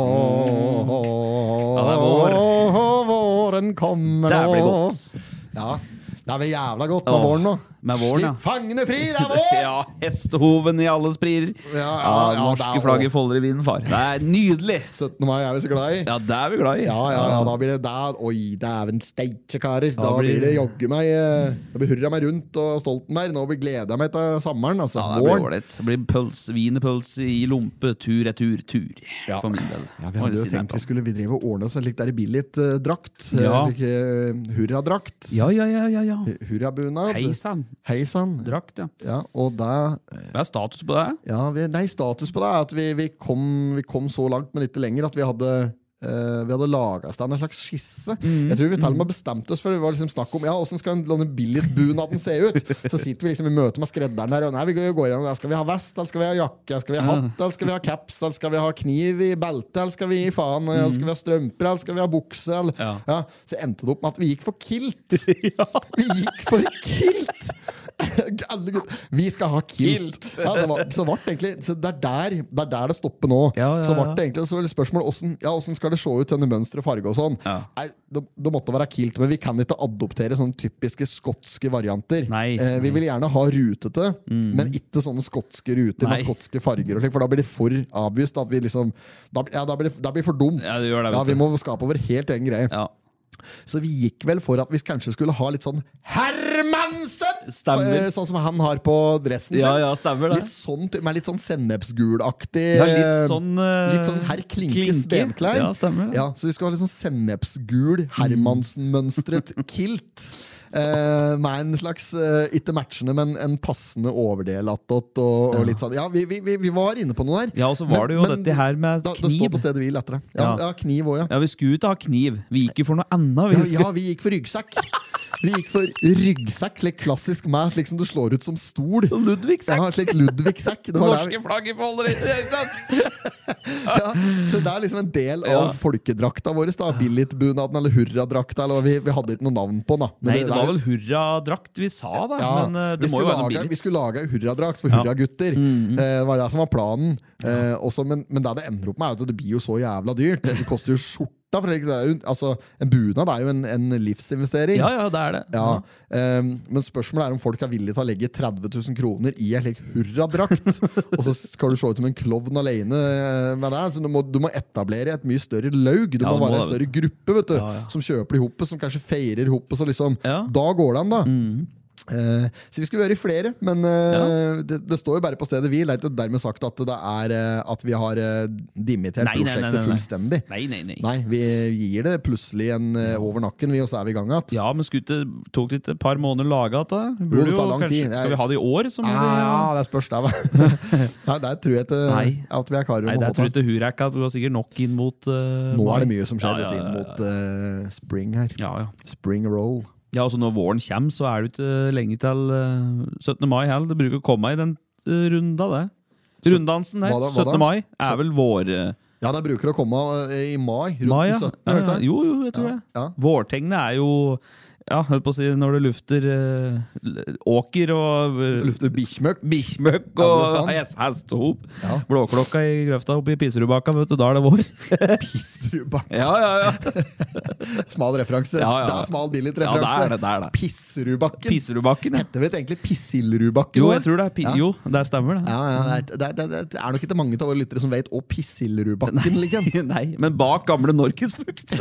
[SPEAKER 1] Ja, det er vår.
[SPEAKER 2] Å, våren kommer nå.
[SPEAKER 1] Det blir godt.
[SPEAKER 2] Ja, det er vel jævla godt med
[SPEAKER 1] Åh,
[SPEAKER 2] våren nå.
[SPEAKER 1] med våren, ja.
[SPEAKER 2] Slipp fangene fri, det er vår!
[SPEAKER 1] Ja, hestehoven i alle sprier.
[SPEAKER 2] Ja,
[SPEAKER 1] Ja,
[SPEAKER 2] ja, ja, det
[SPEAKER 1] norske
[SPEAKER 2] er
[SPEAKER 1] flagget
[SPEAKER 2] også.
[SPEAKER 1] folder i vinden, far. Det er nydelig!
[SPEAKER 2] 17. mai er vi så glad i. Ja.
[SPEAKER 1] Ja, det er vi glad i.
[SPEAKER 2] Ja, ja, da blir det der. Oi, dæven steike, karer. Da,
[SPEAKER 1] blir-
[SPEAKER 2] blir det jogge meg eh, Da blir hurra meg rundt og Stoltenberg. Nå blir gleder jeg meg til sommeren. Altså.
[SPEAKER 1] Ja, det blir
[SPEAKER 2] våren.
[SPEAKER 1] ålreit. Det blir pølse, wienerpølse i lompe, tur retur, tur. For min del.
[SPEAKER 2] Ja, vi hadde jo tenkt vi skulle vi drive og ordne oss en litt der billig-drakt.
[SPEAKER 1] Ja.
[SPEAKER 2] Eh, Hurradrakt.
[SPEAKER 1] Ja, ja, ja, ja. ja.
[SPEAKER 2] Hurrabunad.
[SPEAKER 1] Hei sann.
[SPEAKER 2] Hei sann.
[SPEAKER 1] Drakt, ja.
[SPEAKER 2] Ja, og da
[SPEAKER 1] Hva er status på det?
[SPEAKER 2] ja, vi, Nei, status på det er at vi, vi, kom, vi kom så langt, men ikke lenger, at vi hadde eh, vi hadde laga en slags skisse. Jeg tror vi til og med bestemte oss for det. var liksom snakk om ja, hvordan skal denne billigbunaden se ut. Så sitter vi liksom i møte med skredderen der. Og nei, vi går igjen, Skal vi ha vest, eller skal vi ha jakke, skal vi ha hatt, eller skal vi ha caps, eller skal vi ha kniv i beltet, eller skal vi gi faen, eller skal vi ha strømper, eller skal vi ha bukse? Eller, ja.
[SPEAKER 1] Ja.
[SPEAKER 2] Så endte det opp med at vi gikk for kilt.
[SPEAKER 1] Ja.
[SPEAKER 2] Vi gikk for kilt! Alle gutt- Vi skal ha kilt!
[SPEAKER 1] Kilt.
[SPEAKER 2] Ja, det, var, så vart det egentlig, så det, er der, det er der det stopper nå.
[SPEAKER 1] Ja, ja,
[SPEAKER 2] Så
[SPEAKER 1] ja.
[SPEAKER 2] vart det egentlig så var det spørsmål hvordan, ja, hvordan skal det se ut denne mønster og farge og sånn.
[SPEAKER 1] Ja.
[SPEAKER 2] Nei, det, det måtte være kilt, men vi kan ikke adoptere sånne typiske skotske varianter.
[SPEAKER 1] Nei. Mm.
[SPEAKER 2] Eh, vi vil gjerne ha rutete, men ikke sånne skotske ruter
[SPEAKER 1] Nei.
[SPEAKER 2] med skotske farger, og slik, for da blir det for avvist. At vi liksom, da, ja, da blir det da blir det for dumt.
[SPEAKER 1] Ja, det gjør det, vet
[SPEAKER 2] ja, vi
[SPEAKER 1] du.
[SPEAKER 2] må skape over helt egen greie.
[SPEAKER 1] ja.
[SPEAKER 2] Så vi gikk vel for at vi kanskje skulle ha litt sånn Hermansen!
[SPEAKER 1] Stemmer.
[SPEAKER 2] For, eh, Sånn som han har på dressen sin.
[SPEAKER 1] Ja, ja, stemmer det.
[SPEAKER 2] Litt sånn, ty- med litt sånn sennepsgulaktig
[SPEAKER 1] Ja, litt
[SPEAKER 2] eh,
[SPEAKER 1] sånn eh,
[SPEAKER 2] Litt sånn her klinkes
[SPEAKER 1] klinke.
[SPEAKER 2] benklær.
[SPEAKER 1] Ja, stemmer Mm. det.
[SPEAKER 2] Ja, så vi skal ha litt sånn sennepsgul, Hermansen-mønstret kilt. Eh, med en slags, eh, ikke matchende, men en passende overdel attåt. Og, og litt sånn. Ja, vi, vi, vi- vi var inne på noe der.
[SPEAKER 1] Ja, og så var det jo dette her med
[SPEAKER 2] da, Det står
[SPEAKER 1] kniv.
[SPEAKER 2] på stedet hvil etter det. Ja,
[SPEAKER 1] Ja.
[SPEAKER 2] ja. kniv òg, ja.
[SPEAKER 1] Ja, vi skulle ikke ha kniv. Vi gikk jo for noe
[SPEAKER 2] Ja,
[SPEAKER 1] annet. Vi
[SPEAKER 2] ja, vi gikk for ryggsekk. Vi gikk for ryggsekk, slik klassisk meg, slik som du slår ut som stol.
[SPEAKER 1] Ludvigsekk.
[SPEAKER 2] Ja, slik Ludvig-sekk. Det var der vi-
[SPEAKER 1] Norske flagget folder i ikke sant?
[SPEAKER 2] ja. Så det er liksom en del av
[SPEAKER 1] Ja.
[SPEAKER 2] folkedrakta vår. da. Billigbunaden eller hurradrakta. Eller, hva vi, vi hadde ikke noe navn på den. da. Men
[SPEAKER 1] Nei, det
[SPEAKER 2] det
[SPEAKER 1] var
[SPEAKER 2] er-
[SPEAKER 1] vel hurradrakt vi sa, da.
[SPEAKER 2] Ja,
[SPEAKER 1] Men eh,
[SPEAKER 2] vi,
[SPEAKER 1] det må jo
[SPEAKER 2] skulle
[SPEAKER 1] være noe Mm,
[SPEAKER 2] lage, vi
[SPEAKER 1] billig.
[SPEAKER 2] skulle lage en hurradrakt for hurragutter. Eh, det var det som var planen. Eh, også, men, men det det ender opp med, er jo at det blir jo så jævla dyrt. Det koster jo skjorta. For det er jo, altså, en bunad er jo en, en livsinvestering.
[SPEAKER 1] Ja, ja, det er det.
[SPEAKER 2] Ja, ehm, Men spørsmålet er om folk er villige til å legge 30 000 kroner i en slik hurradrakt. og så skal du se ut som en klovn alene eh, med det. Så du må, du må etablere et mye større laug. Du
[SPEAKER 1] Ja,
[SPEAKER 2] må
[SPEAKER 1] du må
[SPEAKER 2] være en
[SPEAKER 1] det,
[SPEAKER 2] større gruppe vet du,
[SPEAKER 1] Ja, ja.
[SPEAKER 2] som kjøper de hoppet, som kanskje feirer hoppet. Så liksom,
[SPEAKER 1] Ja. Mm.
[SPEAKER 2] da går det an, da. Eh, så vi skulle være flere, men eh, det, det står jo bare på stedet hvil. Det er ikke dermed sagt at, det er, eh, at vi har eh, dimittert
[SPEAKER 1] Nei, nei, nei,
[SPEAKER 2] prosjektet
[SPEAKER 1] nei, nei.
[SPEAKER 2] fullstendig.
[SPEAKER 1] Nei, nei, nei.
[SPEAKER 2] Nei, vi gir det plutselig en eh, over nakken, vi, og så er vi i gang igjen.
[SPEAKER 1] Ja, men skulle ikke- tok det ikke et par måneder å lage at det?
[SPEAKER 2] Jo,
[SPEAKER 1] Burde
[SPEAKER 2] det tar
[SPEAKER 1] jo
[SPEAKER 2] lang
[SPEAKER 1] kanskje-
[SPEAKER 2] tid. Jeg-
[SPEAKER 1] Skal vi ha det i år? Som
[SPEAKER 2] Ja,
[SPEAKER 1] vi-
[SPEAKER 2] ja, det spørs der, hva. Nei, der tror jeg ikke
[SPEAKER 1] Nei.
[SPEAKER 2] at eh, vi er karer
[SPEAKER 1] Nei,
[SPEAKER 2] om å
[SPEAKER 1] det
[SPEAKER 2] få
[SPEAKER 1] tror jeg
[SPEAKER 2] tak.
[SPEAKER 1] ikke Hurek at vi var sikkert nok inn mot eh,
[SPEAKER 2] Nå er det
[SPEAKER 1] mai.
[SPEAKER 2] mye som skjer
[SPEAKER 1] Ja, ja,
[SPEAKER 2] vet du, inn
[SPEAKER 1] ja,
[SPEAKER 2] mot eh, spring her.
[SPEAKER 1] Ja, ja.
[SPEAKER 2] Spring roll.
[SPEAKER 1] ja, altså når våren kommer, så er det jo ikke lenge til eh, 17. mai heller. Det bruker å komme i den eh, runda, det. Runddansen der.
[SPEAKER 2] Hva da, hva da?
[SPEAKER 1] 17. mai er vel vår... eh,
[SPEAKER 2] Ja, det bruker å komme eh, i mai. Rundt
[SPEAKER 1] mai, ja.
[SPEAKER 2] den 17.
[SPEAKER 1] Ja,
[SPEAKER 2] vet
[SPEAKER 1] ja.
[SPEAKER 2] du.
[SPEAKER 1] Jo, jo, jeg tror
[SPEAKER 2] Ja,
[SPEAKER 1] det.
[SPEAKER 2] ja.
[SPEAKER 1] Vårtegnet er jo Ja, holdt på å si når du lufter eh, l- åker og eh,
[SPEAKER 2] Lufter bikkjemøkk.
[SPEAKER 1] bikkjemøkk
[SPEAKER 2] Alle
[SPEAKER 1] og
[SPEAKER 2] stand.
[SPEAKER 1] hes- hestehop.
[SPEAKER 2] Ja.
[SPEAKER 1] Blåklokka i grøfta oppe i Piserudbakka, vet du, da er det vår.
[SPEAKER 2] Pisserudbakk.
[SPEAKER 1] Ja, ja, ja.
[SPEAKER 2] Smal referanse.
[SPEAKER 1] Ja, ja, ja.
[SPEAKER 2] Det er smal billig
[SPEAKER 1] Ja, det er
[SPEAKER 2] referanse.
[SPEAKER 1] det. det, er det.
[SPEAKER 2] Pisserudbakken.
[SPEAKER 1] Piserudbakken, ja.
[SPEAKER 2] Heter vel egentlig Pissilrudbakken?
[SPEAKER 1] Jo,
[SPEAKER 2] nå,
[SPEAKER 1] jeg tror det er pi
[SPEAKER 2] Ja.
[SPEAKER 1] Jo, det stemmer, det.
[SPEAKER 2] Ja, ja, det, er- det, er- det er nok ikke mange av våre lyttere som vet å Pissilrudbakken ligger.
[SPEAKER 1] Nei, men bak gamle Norgesfrukt.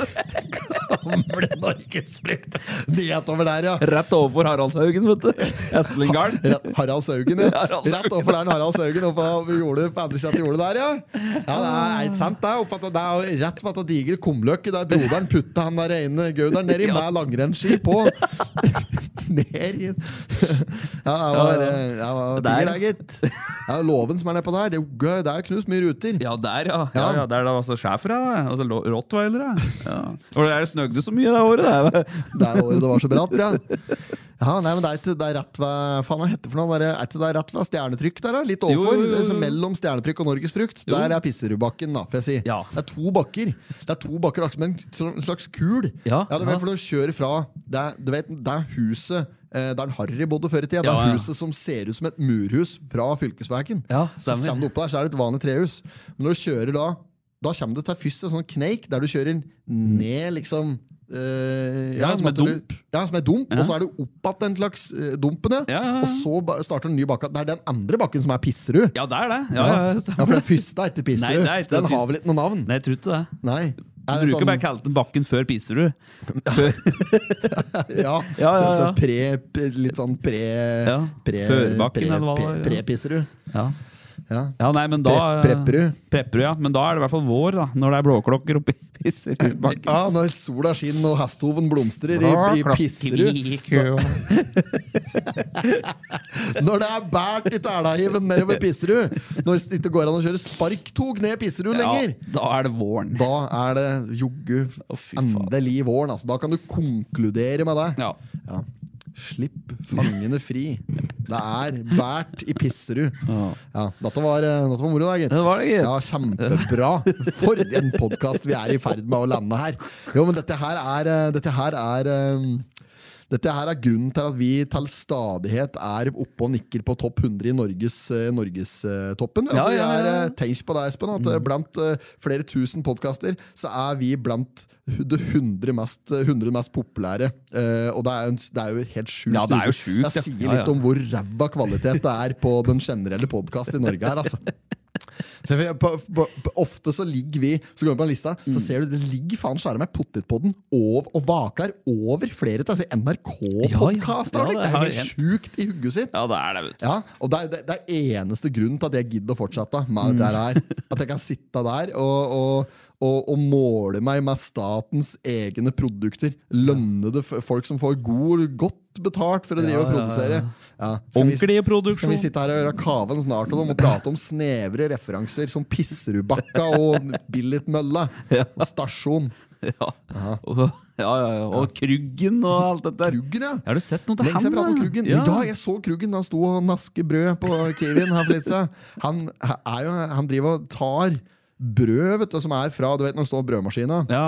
[SPEAKER 2] gamle norgesfrykt nedover der, ja.
[SPEAKER 1] Rett overfor Haraldshaugen, vet du. Espelinggarden.
[SPEAKER 2] Rett, Harald Saugen, ja.
[SPEAKER 1] Harald Saugen.
[SPEAKER 2] Rett overfor der den Harald Saugen oppe på jordet på andre siden av jordet der, ja. Ja, det er helt sant, det. Oppe at det er jo rett ved at det digre kumløkket der broderen putta han der ene gauderen nedi med langrennsski på. Ned i Ja, det var,
[SPEAKER 1] ja.
[SPEAKER 2] eh, det var
[SPEAKER 1] Der.
[SPEAKER 2] digre, det, gitt. Det er jo låven som er nedpå der. Det er jo gøy. Det er jo knust mye ruter.
[SPEAKER 1] Ja, der, ja. ja, ja der det var så schæfere. Altså, lo- rottweilere. Ja. Var det der det snøgde så mye det året? Det.
[SPEAKER 2] Det er året det var så bratt, ja. Ja, nei, men Det er, ikke, det er rett ved faen hva heter det for noe, bare, er ikke det rett ved stjernetrykk der, da? Litt
[SPEAKER 1] Jo,
[SPEAKER 2] overfor.
[SPEAKER 1] jo, jo, jo.
[SPEAKER 2] altså Mellom stjernetrykk og Norgesfrukt. Der er Pisserudbakken, da, får jeg si.
[SPEAKER 1] Ja.
[SPEAKER 2] Det er to bakker. Det er to bakker akkurat som en sånn slags kul.
[SPEAKER 1] Ja,
[SPEAKER 2] det er
[SPEAKER 1] ja.
[SPEAKER 2] vel for når du kjører fra det, du vet, det er huset eh, der Harry bodde før i tida. Det
[SPEAKER 1] Ja,
[SPEAKER 2] er
[SPEAKER 1] ja.
[SPEAKER 2] huset som ser ut som et murhus fra fylkesveien.
[SPEAKER 1] Ja,
[SPEAKER 2] så
[SPEAKER 1] stemmer.
[SPEAKER 2] kommer du oppå der, så er det et vanlig trehus. Men når du kjører da da kommer du til først en sånn kneik der du kjører ned liksom eh,
[SPEAKER 1] Ja,
[SPEAKER 2] på en
[SPEAKER 1] som et
[SPEAKER 2] måte du-
[SPEAKER 1] dump.
[SPEAKER 2] ja, som er dump, og så er det opp igjen den slags eh, dumpen, ja.
[SPEAKER 1] Ja, ja, ja.
[SPEAKER 2] Og så ba- starter en ny bakke. Det er den andre bakken som er Pisserud.
[SPEAKER 1] Ja, det er det. Ja, ja,
[SPEAKER 2] Ja,
[SPEAKER 1] stemmer.
[SPEAKER 2] for den første er ikke Pisserud.
[SPEAKER 1] Nei, det er ikke den
[SPEAKER 2] den har
[SPEAKER 1] første.
[SPEAKER 2] vel ikke noe navn?
[SPEAKER 1] Nei, jeg tror ikke det.
[SPEAKER 2] Nei.
[SPEAKER 1] Du
[SPEAKER 2] Er det
[SPEAKER 1] bruker
[SPEAKER 2] sånn-
[SPEAKER 1] bare kalt den Bakken før Piserud.
[SPEAKER 2] ja,
[SPEAKER 1] Ja, ja,
[SPEAKER 2] Så,
[SPEAKER 1] ja.
[SPEAKER 2] så pre, p- litt sånn pre...
[SPEAKER 1] Ja,
[SPEAKER 2] pre
[SPEAKER 1] Førbakken,
[SPEAKER 2] pre,
[SPEAKER 1] eller hva det
[SPEAKER 2] pre,
[SPEAKER 1] var, ja.
[SPEAKER 2] Pre-Pisserud.
[SPEAKER 1] Ja.
[SPEAKER 2] Ja.
[SPEAKER 1] ja, nei, men da eh,
[SPEAKER 2] Pre- Prepperud.
[SPEAKER 1] Prepperud, ja. Men da er det i hvert fall vår, da. Når det er blåklokker oppi Piserudbakken.
[SPEAKER 2] Ja, når sola skinner og hestehoven blomstrer i, i Pisserud. Når det er bært i tælahiven nedover Pisserud. Når det ikke går an å kjøre sparktog ned Pisserud
[SPEAKER 1] Ja,
[SPEAKER 2] lenger.
[SPEAKER 1] da er det våren.
[SPEAKER 2] Da er det joggu
[SPEAKER 1] Å, fy faen.
[SPEAKER 2] endelig våren. Altså. Da kan du konkludere med det.
[SPEAKER 1] Ja.
[SPEAKER 2] Ja. Slipp fangene fri. Det er bært i Pisserud.
[SPEAKER 1] Ja.
[SPEAKER 2] Ja, dette, var, eh, dette var moro, da, gitt.
[SPEAKER 1] Det var det, gitt.
[SPEAKER 2] Ja, Kjempebra. For en podkast vi er i ferd med å lande her. Jo, men dette her er, eh, dette her er eh, dette her er grunnen til at vi til stadighet er oppe og nikker på topp 100 i Norgestoppen. Norges, eh, toppen. altså,
[SPEAKER 1] Ja, ja,
[SPEAKER 2] vi
[SPEAKER 1] ja,
[SPEAKER 2] er,
[SPEAKER 1] ja. Mm.
[SPEAKER 2] eh, Tenk på det, Espen, at eh, blant eh, flere tusen podkaster så er vi blant hu- det 100 mest, 100 mest populære. Eh, og det er, jo en, det er jo helt sjukt.
[SPEAKER 1] Ja, det er jo sjukt, ja.
[SPEAKER 2] Det sier litt
[SPEAKER 1] Ja, ja.
[SPEAKER 2] om hvor ræva kvalitet det er på den generelle podkast i Norge her, altså. Så vi, på, på, på, ofte så ligger vi Så går vi på den lista, så ser du det ligger faen skjære meg potetpodden og, og vaker over flere til NRK-podkaster.
[SPEAKER 1] Ja, ja. Ja, det
[SPEAKER 2] det, er jo
[SPEAKER 1] har
[SPEAKER 2] helt
[SPEAKER 1] hendt.
[SPEAKER 2] sjukt i hugget sitt.
[SPEAKER 1] Ja, det er det, vet du.
[SPEAKER 2] Ja, og det er, det, det er eneste grunnen til at jeg gidder å fortsette med dette her.
[SPEAKER 1] Mm.
[SPEAKER 2] At jeg kan sitte der og, og, og, og måle meg med statens egne produkter. Lønnede f- folk som får god, godt betalt for å drive og
[SPEAKER 1] Ja, ja,
[SPEAKER 2] produsere.
[SPEAKER 1] ja.
[SPEAKER 2] Ja. Skal vi-
[SPEAKER 1] Ordentlig
[SPEAKER 2] skal
[SPEAKER 1] produksjon.
[SPEAKER 2] vi sitte her og gjøre kaven snart om og prate om snevre referanser som Pisserudbakka og Billitmølla
[SPEAKER 1] Ja.
[SPEAKER 2] og stasjon?
[SPEAKER 1] Ja. Og, ja, ja, ja. og Kruggen og alt dette der.
[SPEAKER 2] Kruggen, ja!
[SPEAKER 1] Har du sett noe til
[SPEAKER 2] Lenge siden jeg pratet om
[SPEAKER 1] da?
[SPEAKER 2] Kruggen. Ja.
[SPEAKER 1] eh, Ja.
[SPEAKER 2] jeg så Kruggen da han sto og naske brød på Kiwien her for litt siden. Han, er jo, han driver og tar brød, vet du, som er fra du vet, når det står brødmaskina.
[SPEAKER 1] ja.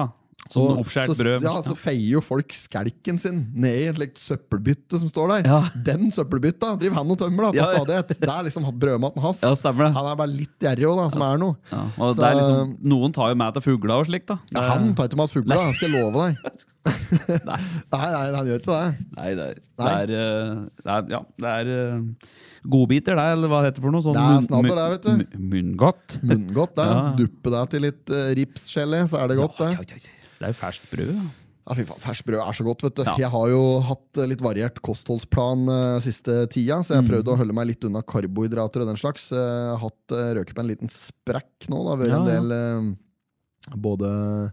[SPEAKER 2] Og
[SPEAKER 1] Som Sånn oppskjært
[SPEAKER 2] så,
[SPEAKER 1] brød.
[SPEAKER 2] Ja, så feier jo folk skalken sin ned i et slikt søppelbytte som står der.
[SPEAKER 1] Ja.
[SPEAKER 2] Den søppelbytta driver han og tømmer da, til
[SPEAKER 1] Ja, ja.
[SPEAKER 2] stadighet. Det er liksom brødmaten hans.
[SPEAKER 1] Ja, stemmer det.
[SPEAKER 2] Han er bare litt gjerrig òg, da, som er noe.
[SPEAKER 1] Ja, og
[SPEAKER 2] Så-
[SPEAKER 1] det er liksom, noen tar jo med til fugler og slikt, da.
[SPEAKER 2] Ja, han tar ikke mat fugle, da, skal jeg love deg.
[SPEAKER 1] Nei.
[SPEAKER 2] Nei, nei, han gjør ikke det.
[SPEAKER 1] Nei, det er, det
[SPEAKER 2] Nei.
[SPEAKER 1] er, eh, det er, ja, det er eh, godbiter, det, eller hva det heter for noe? Sånn
[SPEAKER 2] Det er
[SPEAKER 1] munn-
[SPEAKER 2] snadder,
[SPEAKER 1] munn-
[SPEAKER 2] det, vet
[SPEAKER 1] munn- Munngodt.
[SPEAKER 2] Munngodt, det.
[SPEAKER 1] Ja.
[SPEAKER 2] Duppe deg til litt uh, ripsgelé, så er det godt, det.
[SPEAKER 1] Ja, ja, ja. Det er jo ferskt brød. Ja.
[SPEAKER 2] Ja, fy faen, Ferskt brød er så godt. vet du
[SPEAKER 1] Ja.
[SPEAKER 2] Jeg har jo hatt eh, litt variert kostholdsplan eh, siste tida, så
[SPEAKER 1] Mm.
[SPEAKER 2] jeg har prøvd å holde meg litt unna karbohydrater og den slags. Eh, Jeg har hatt eh, røket på en liten sprekk nå. Det har vært
[SPEAKER 1] Ja,
[SPEAKER 2] en
[SPEAKER 1] ja.
[SPEAKER 2] del eh, både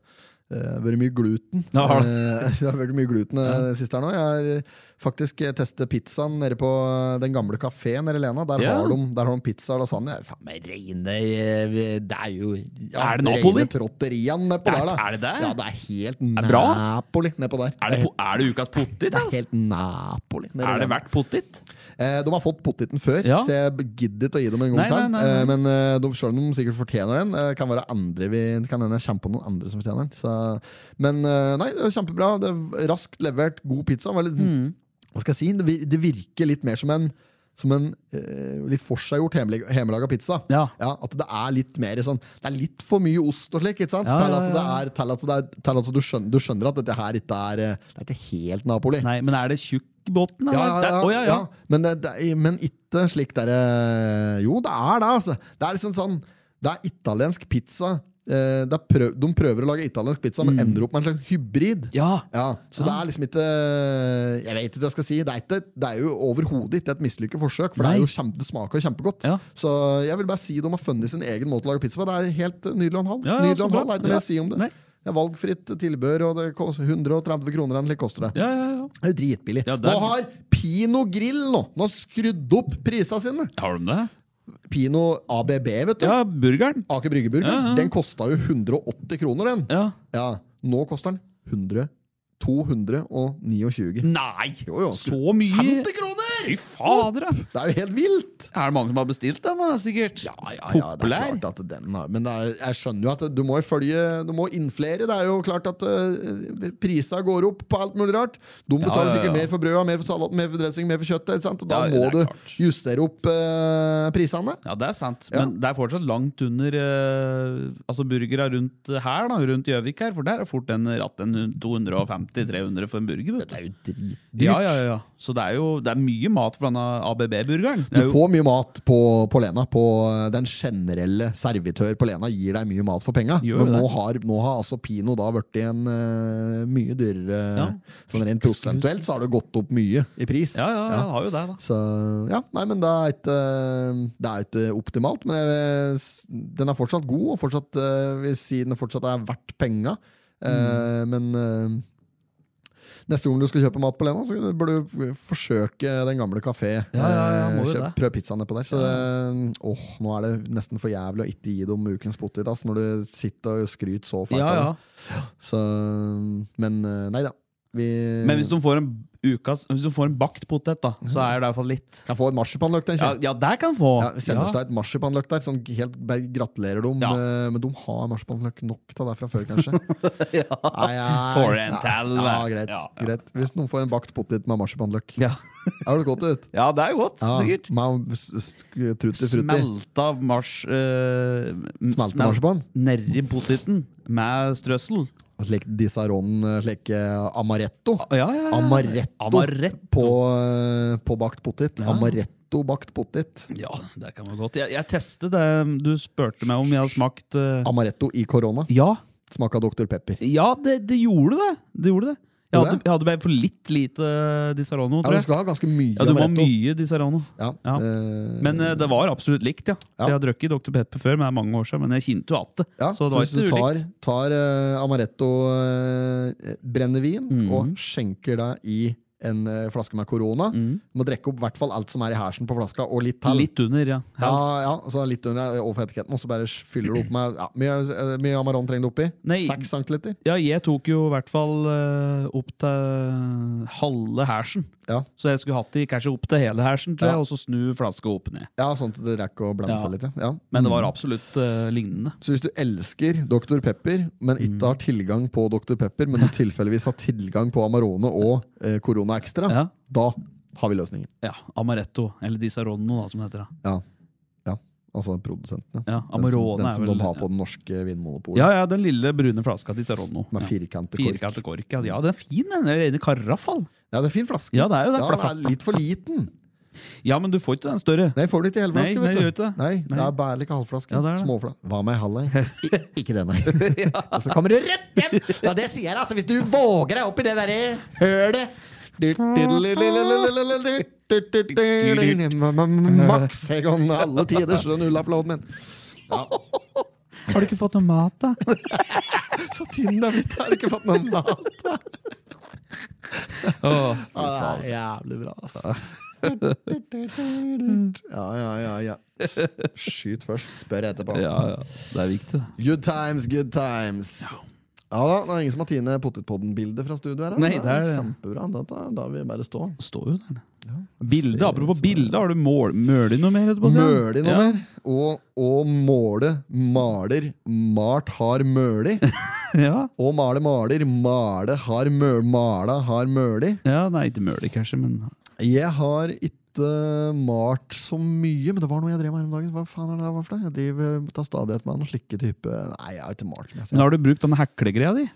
[SPEAKER 2] eh, vært mye gluten.
[SPEAKER 1] Ja, har det.
[SPEAKER 2] Eh, det har vært mye gluten eh, det siste her nå. Jeg har faktisk eh, testet pizzaen nede på eh, den gamle kafeen nede i Lena. Der,
[SPEAKER 1] Ja.
[SPEAKER 2] har de, der har de pizza og lasagne. Det er Faen meg reine eh, Det er jo ja,
[SPEAKER 1] Er det Napoli?
[SPEAKER 2] reine trotterian nedpå
[SPEAKER 1] Er-
[SPEAKER 2] der, da.
[SPEAKER 1] er det det?
[SPEAKER 2] Ja, det er helt
[SPEAKER 1] det bra?
[SPEAKER 2] Napoli nedpå der. Eh,
[SPEAKER 1] Er det, po- er det ukas pottit?
[SPEAKER 2] Det
[SPEAKER 1] da?
[SPEAKER 2] er helt Napoli. nede i
[SPEAKER 1] Er det
[SPEAKER 2] landet.
[SPEAKER 1] verdt pottit?
[SPEAKER 2] Eh, de har fått pottiten før,
[SPEAKER 1] Ja.
[SPEAKER 2] så jeg gidder ikke å gi dem en gang
[SPEAKER 1] Nei,
[SPEAKER 2] til.
[SPEAKER 1] nei, nei, nei.
[SPEAKER 2] Eh, men eh, de, selv om de sikkert fortjener den, eh, kan være andre vi kan hende jeg kommer på noen andre som fortjener den. Så, men eh, nei, det var kjempebra. Det er raskt levert, god pizza. Var litt,
[SPEAKER 1] Mm.
[SPEAKER 2] Hva skal jeg si? Det, vir- det virker litt mer som en som en eh, litt forseggjort hjemmelag- hjemmelaga pizza.
[SPEAKER 1] Ja.
[SPEAKER 2] At det er litt mer sånn Det er litt for mye ost og slik, ikke sant?
[SPEAKER 1] Ja,
[SPEAKER 2] til
[SPEAKER 1] ja,
[SPEAKER 2] at, det
[SPEAKER 1] ja.
[SPEAKER 2] er, til at, det er, til at du, skjønner, du skjønner at dette her ikke er, eh, det er ikke helt Napoli.
[SPEAKER 1] Nei, men er det tjukk
[SPEAKER 2] Ja,
[SPEAKER 1] båten? eller?
[SPEAKER 2] ja,
[SPEAKER 1] Det
[SPEAKER 2] ja,
[SPEAKER 1] er- Å, ja, ja.
[SPEAKER 2] Men, det, det, er- men ikke slik der eh, Jo, det er det, altså. Det er liksom sånn Det er italiensk pizza eh, det er prøv, De prøver å lage italiensk pizza,
[SPEAKER 1] Mm.
[SPEAKER 2] men ender opp med en slags hybrid.
[SPEAKER 1] Ja.
[SPEAKER 2] Så det er liksom ikke Jeg vet ikke hva jeg skal si. Det er, ikke, det er jo overhodet ikke et mislykket forsøk, for
[SPEAKER 1] Nei.
[SPEAKER 2] det, er jo kjempe, det smaker jo kjempegodt.
[SPEAKER 1] Ja.
[SPEAKER 2] Så jeg vil bare si de har funnet sin egen måte å lage pizza på. Det er helt nydelig og en halv.
[SPEAKER 1] Ja, ja,
[SPEAKER 2] Nydelig
[SPEAKER 1] så
[SPEAKER 2] og en
[SPEAKER 1] bra.
[SPEAKER 2] halv, er ikke noe
[SPEAKER 1] Ja.
[SPEAKER 2] mer å si om det.
[SPEAKER 1] Nei.
[SPEAKER 2] Det er valgfritt tilbør, og det koster 130 kroner eller hva koster det.
[SPEAKER 1] Ja, ja, ja.
[SPEAKER 2] Det er jo dritbillig.
[SPEAKER 1] Ja, det er-
[SPEAKER 2] Nå har Pino Grill nå Nå har skrudd opp prisene sine!
[SPEAKER 1] Har de det?
[SPEAKER 2] Pino ABB, vet du.
[SPEAKER 1] Ja, burgeren.
[SPEAKER 2] Aker Bryggeburger.
[SPEAKER 1] Ja, ja.
[SPEAKER 2] Den kosta jo 180 kroner, den.
[SPEAKER 1] Ja.
[SPEAKER 2] Ja. Nå koster den 100 229.
[SPEAKER 1] Nei!
[SPEAKER 2] Jo, jo.
[SPEAKER 1] Så mye?
[SPEAKER 2] 50 kroner!
[SPEAKER 1] Fy fader, da!
[SPEAKER 2] Det er jo helt vilt!
[SPEAKER 1] Er det mange som har bestilt den, da, sikkert? Ja,
[SPEAKER 2] det
[SPEAKER 1] Populær?
[SPEAKER 2] er klart at den har Men det er, jeg skjønner jo at du må jo følge Du må innflere. Det er jo klart at uh, prisene går opp på alt mulig rart. De betaler
[SPEAKER 1] ja, ja.
[SPEAKER 2] sikkert mer for brødet, mer for salaten, mer for dressing, mer for kjøttet. Ikke sant? Og da
[SPEAKER 1] Ja, det
[SPEAKER 2] må
[SPEAKER 1] er
[SPEAKER 2] du
[SPEAKER 1] klart.
[SPEAKER 2] justere opp uh, prisene.
[SPEAKER 1] Ja, det er sant. Men det er fortsatt langt under eh, Altså burgera rundt her, da, rundt Gjøvik her, for der er fort en ratt en 250-300 for en burger. Vet du. Det er jo
[SPEAKER 2] Dritdyrt.
[SPEAKER 1] Ja, ja, ja. Så det er jo det er mye mat for denne ABB-burgeren. Det
[SPEAKER 2] Du
[SPEAKER 1] er jo-
[SPEAKER 2] får mye mat på, på Lena. På eh, den generelle servitør på Lena gir deg mye mat for penga.
[SPEAKER 1] Gjør
[SPEAKER 2] Men
[SPEAKER 1] det.
[SPEAKER 2] nå har, nå har altså Pino da blitt en eh, mye dyrere
[SPEAKER 1] Ja.
[SPEAKER 2] Sånn rent prosentuelt så har det gått opp mye i pris.
[SPEAKER 1] Ja, ja, ja, har jo det, da.
[SPEAKER 2] Så ja, nei, men det er ikke, det er ikke optimalt. Men jeg, den er fortsatt god, og fortsatt, eh, vil si den fortsatt er verdt penga. Eh,
[SPEAKER 1] Mm.
[SPEAKER 2] Men eh, neste gang du skal kjøpe mat på Lena, så bør du forsøke den gamle kafé.
[SPEAKER 1] Ja, ja, ja,
[SPEAKER 2] Eh,
[SPEAKER 1] må jo
[SPEAKER 2] kjøp-
[SPEAKER 1] det.
[SPEAKER 2] Prøv pizzaen nedpå der. Så det, åh, nå er det nesten for jævlig å ikke gi dem ukens potet ass, når du sitter og skryter så fælt.
[SPEAKER 1] Ja,
[SPEAKER 2] av det.
[SPEAKER 1] ja.
[SPEAKER 2] Så, men eh, nei da. Vi,
[SPEAKER 1] Men hvis du får en ukas, hvis du får en bakt potet, da, så er det i hvert fall litt.
[SPEAKER 2] kan få en marsipanløk, tenker jeg.
[SPEAKER 1] Ja, ja der kan få.
[SPEAKER 2] Ja, vi sender oss
[SPEAKER 1] Ja.
[SPEAKER 2] deg et marsipanløk der. Sånn helt bare gratulerer dem.
[SPEAKER 1] Ja.
[SPEAKER 2] eh, Men de har marsipanløk nok til deg fra før, kanskje. Nei, nei.
[SPEAKER 1] Torrental.
[SPEAKER 2] Ja, greit,
[SPEAKER 1] Ja, ja.
[SPEAKER 2] greit. Hvis noen får en bakt potet med marsipanløk.
[SPEAKER 1] Ja.
[SPEAKER 2] Er det godt ut?
[SPEAKER 1] ja, det er jo godt, sikkert.
[SPEAKER 2] Med s- s- trutti frutti.
[SPEAKER 1] Smelta mars... Uh,
[SPEAKER 2] Smelte marsipan?
[SPEAKER 1] Nedi poteten med strøssel.
[SPEAKER 2] Slik disaron, eh, slik eh, amaretto.
[SPEAKER 1] Ja, ja, ja.
[SPEAKER 2] Amaretto,
[SPEAKER 1] Amaretto.
[SPEAKER 2] På, eh, på bakt potet. Amaretto bakt potet.
[SPEAKER 1] Ja, det kan være godt. Jeg, jeg testet det du spurte meg om jeg hadde smakt. eh,
[SPEAKER 2] Amaretto i korona.
[SPEAKER 1] ja,
[SPEAKER 2] Smaka Dr. Pepper.
[SPEAKER 1] ja det, det gjorde det. Det gjorde det. Jeg
[SPEAKER 2] Gjorde
[SPEAKER 1] hadde,
[SPEAKER 2] det?
[SPEAKER 1] jeg hadde bare for litt lite Disarano,
[SPEAKER 2] Ja, du
[SPEAKER 1] tror jeg.
[SPEAKER 2] skal ha ganske mye
[SPEAKER 1] Ja, du må ha
[SPEAKER 2] amaretto.
[SPEAKER 1] mye Disarano.
[SPEAKER 2] Ja,
[SPEAKER 1] Ja.
[SPEAKER 2] eh,
[SPEAKER 1] Men eh, det var absolutt likt, ja.
[SPEAKER 2] Ja.
[SPEAKER 1] Jeg har drukket Dr. Pepper før, men det er mange år siden. Men jeg kjente jo at det.
[SPEAKER 2] Ja,
[SPEAKER 1] så det var
[SPEAKER 2] hvis du
[SPEAKER 1] ikke
[SPEAKER 2] tar,
[SPEAKER 1] ulikt.
[SPEAKER 2] tar eh, amaretto eh, brennevin
[SPEAKER 1] Mm.
[SPEAKER 2] og skjenker deg i en eh, flaske med korona. Du må drikke opp hvert fall alt som er i hersen på flaska, og litt til.
[SPEAKER 1] Mm. Litt under, ja.
[SPEAKER 2] ja,
[SPEAKER 1] Helst.
[SPEAKER 2] ja, så litt under eh, overfor etiketten, og så bare fyller du opp med ja, mye, eh, mye Amaron trenger du oppi?
[SPEAKER 1] Nei.
[SPEAKER 2] Seks centiliter?
[SPEAKER 1] Ja, jeg tok jo i hvert fall eh, opp til halve hersen.
[SPEAKER 2] Ja.
[SPEAKER 1] Så jeg skulle hatt det kanskje opp til hele hersen, tror
[SPEAKER 2] Ja.
[SPEAKER 1] jeg, og så snu flaska opp ned.
[SPEAKER 2] ja, sånn at det rekker å blande
[SPEAKER 1] Ja.
[SPEAKER 2] seg litt. Ja. Ja.
[SPEAKER 1] Men det var
[SPEAKER 2] Mm.
[SPEAKER 1] absolutt eh, lignende.
[SPEAKER 2] Så hvis du elsker Dr. Pepper, men
[SPEAKER 1] Mm.
[SPEAKER 2] ikke har tilgang på Dr. Pepper, men du tilfeldigvis har tilgang på Amarone og eh, Corona Extra,
[SPEAKER 1] Ja.
[SPEAKER 2] da har vi løsningen.
[SPEAKER 1] Ja, Amaretto, eller Disaronno, da, som det heter. Da.
[SPEAKER 2] Ja, ja. altså produsentene.
[SPEAKER 1] Ja,
[SPEAKER 2] den som,
[SPEAKER 1] Amarone
[SPEAKER 2] den som
[SPEAKER 1] er vel
[SPEAKER 2] de har på den norske vinmonopolet.
[SPEAKER 1] Ja, ja, den lille brune flaska Disaronno.
[SPEAKER 2] Med
[SPEAKER 1] ja.
[SPEAKER 2] firkantet kork.
[SPEAKER 1] Firkantet kork. Ja, Ja, den er fin, den. Den er rene karafall.
[SPEAKER 2] Ja, det er fin flaske.
[SPEAKER 1] Ja, det er jo det,
[SPEAKER 2] Ja,
[SPEAKER 1] for det
[SPEAKER 2] den
[SPEAKER 1] er
[SPEAKER 2] er litt for liten.
[SPEAKER 1] Ja, men du får ikke den større.
[SPEAKER 2] Nei, får du ikke i hele
[SPEAKER 1] Nei,
[SPEAKER 2] flaske,
[SPEAKER 1] nei,
[SPEAKER 2] vet
[SPEAKER 1] gjør
[SPEAKER 2] du.
[SPEAKER 1] ikke det.
[SPEAKER 2] Nei, det
[SPEAKER 1] Nei.
[SPEAKER 2] er bare like halvflaske.
[SPEAKER 1] Ja, det er det.
[SPEAKER 2] Småfla. Hva med halv, nei? Ik- Ikke den, nei. Og så kommer du rett hjem! Ja, det sier jeg, altså. Hvis du våger deg opp i det derre hølet Du, du, du, du, du, du, du, du, du, du, du, du, du, du. Max Egon, alle tiders nullapplauden min.
[SPEAKER 1] Har du ikke fått noe mat, da?
[SPEAKER 2] Så tynn er blitt, har ikke fått noe mat.
[SPEAKER 1] Åh,
[SPEAKER 2] Ja, det er jævlig bra, altså. Ja, ja, ja, ja. S- Skyt først, spør etterpå.
[SPEAKER 1] ja, ja. Det er viktig, det.
[SPEAKER 2] Good times, good times. Ja da, Det er ingen som har Tine Potetpodden-bildet fra studio her. da.
[SPEAKER 1] Nei, det er-
[SPEAKER 2] Kjempebra. Da, da, da vil jeg bare stå.
[SPEAKER 1] Står jo der. det. Bilde,
[SPEAKER 2] ser
[SPEAKER 1] apropos
[SPEAKER 2] ut som-
[SPEAKER 1] bilde, har du mål, møl i noe mer? etterpå, sier han?
[SPEAKER 2] Møli noe
[SPEAKER 1] Ja.
[SPEAKER 2] mer. Og, og måle maler. Mart har møli.
[SPEAKER 1] Ja.
[SPEAKER 2] Og male maler. Male har møl. Mala har møli.
[SPEAKER 1] ja, nei, ikke møl, kanskje, men
[SPEAKER 2] Jeg har ikke malt så mye, men det var noe jeg drev med her om dagen. Hva faen er det her for noe? Jeg driver tar stadighet med noen slike type Nei, jeg har ikke malt. altså. som jeg
[SPEAKER 1] Men
[SPEAKER 2] sier.
[SPEAKER 1] har du brukt den heklegreia di?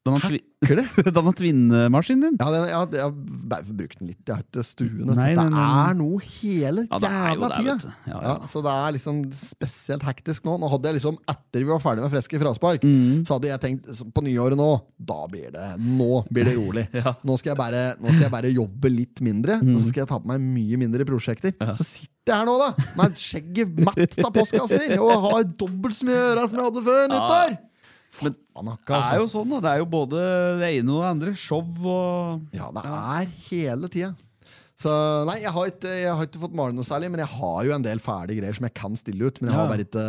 [SPEAKER 1] Den har, tvi
[SPEAKER 2] Hacker det?
[SPEAKER 1] den har tvinnemaskinen din.
[SPEAKER 2] Ja, den, jeg, har- jeg har bare brukt den litt. Jeg har ikke stuen. vet du.
[SPEAKER 1] Nei, nei,
[SPEAKER 2] det
[SPEAKER 1] nei, nei.
[SPEAKER 2] er noe hele
[SPEAKER 1] Ja, det er jo
[SPEAKER 2] jævla
[SPEAKER 1] det,
[SPEAKER 2] tida.
[SPEAKER 1] vet du. Ja,
[SPEAKER 2] ja,
[SPEAKER 1] ja.
[SPEAKER 2] så det er liksom spesielt hektisk nå. Nå hadde jeg liksom, Etter vi var ferdig med Freske fraspark,
[SPEAKER 1] Mm.
[SPEAKER 2] så hadde jeg tenkt så på nyåret nå Da blir det nå blir det rolig. nå, skal jeg bare, nå skal jeg bare jobbe litt mindre,
[SPEAKER 1] Mm.
[SPEAKER 2] og så skal jeg ta på meg mye mindre prosjekter. Så sitter jeg her nå, da, med skjegget matt av postkasser, og har dobbelt så mye å gjøre som jeg hadde før nyttår!
[SPEAKER 1] Men
[SPEAKER 2] Faen, akka,
[SPEAKER 1] det
[SPEAKER 2] altså.
[SPEAKER 1] er jo sånn, da. Det er jo både det ene og det andre. Show og
[SPEAKER 2] Ja, det er hele tida. Så nei, jeg har, ikke, jeg har ikke fått male noe særlig, men jeg har jo en del fæle greier som jeg kan stille ut. Men jeg har
[SPEAKER 1] Ja.
[SPEAKER 2] bare ikke,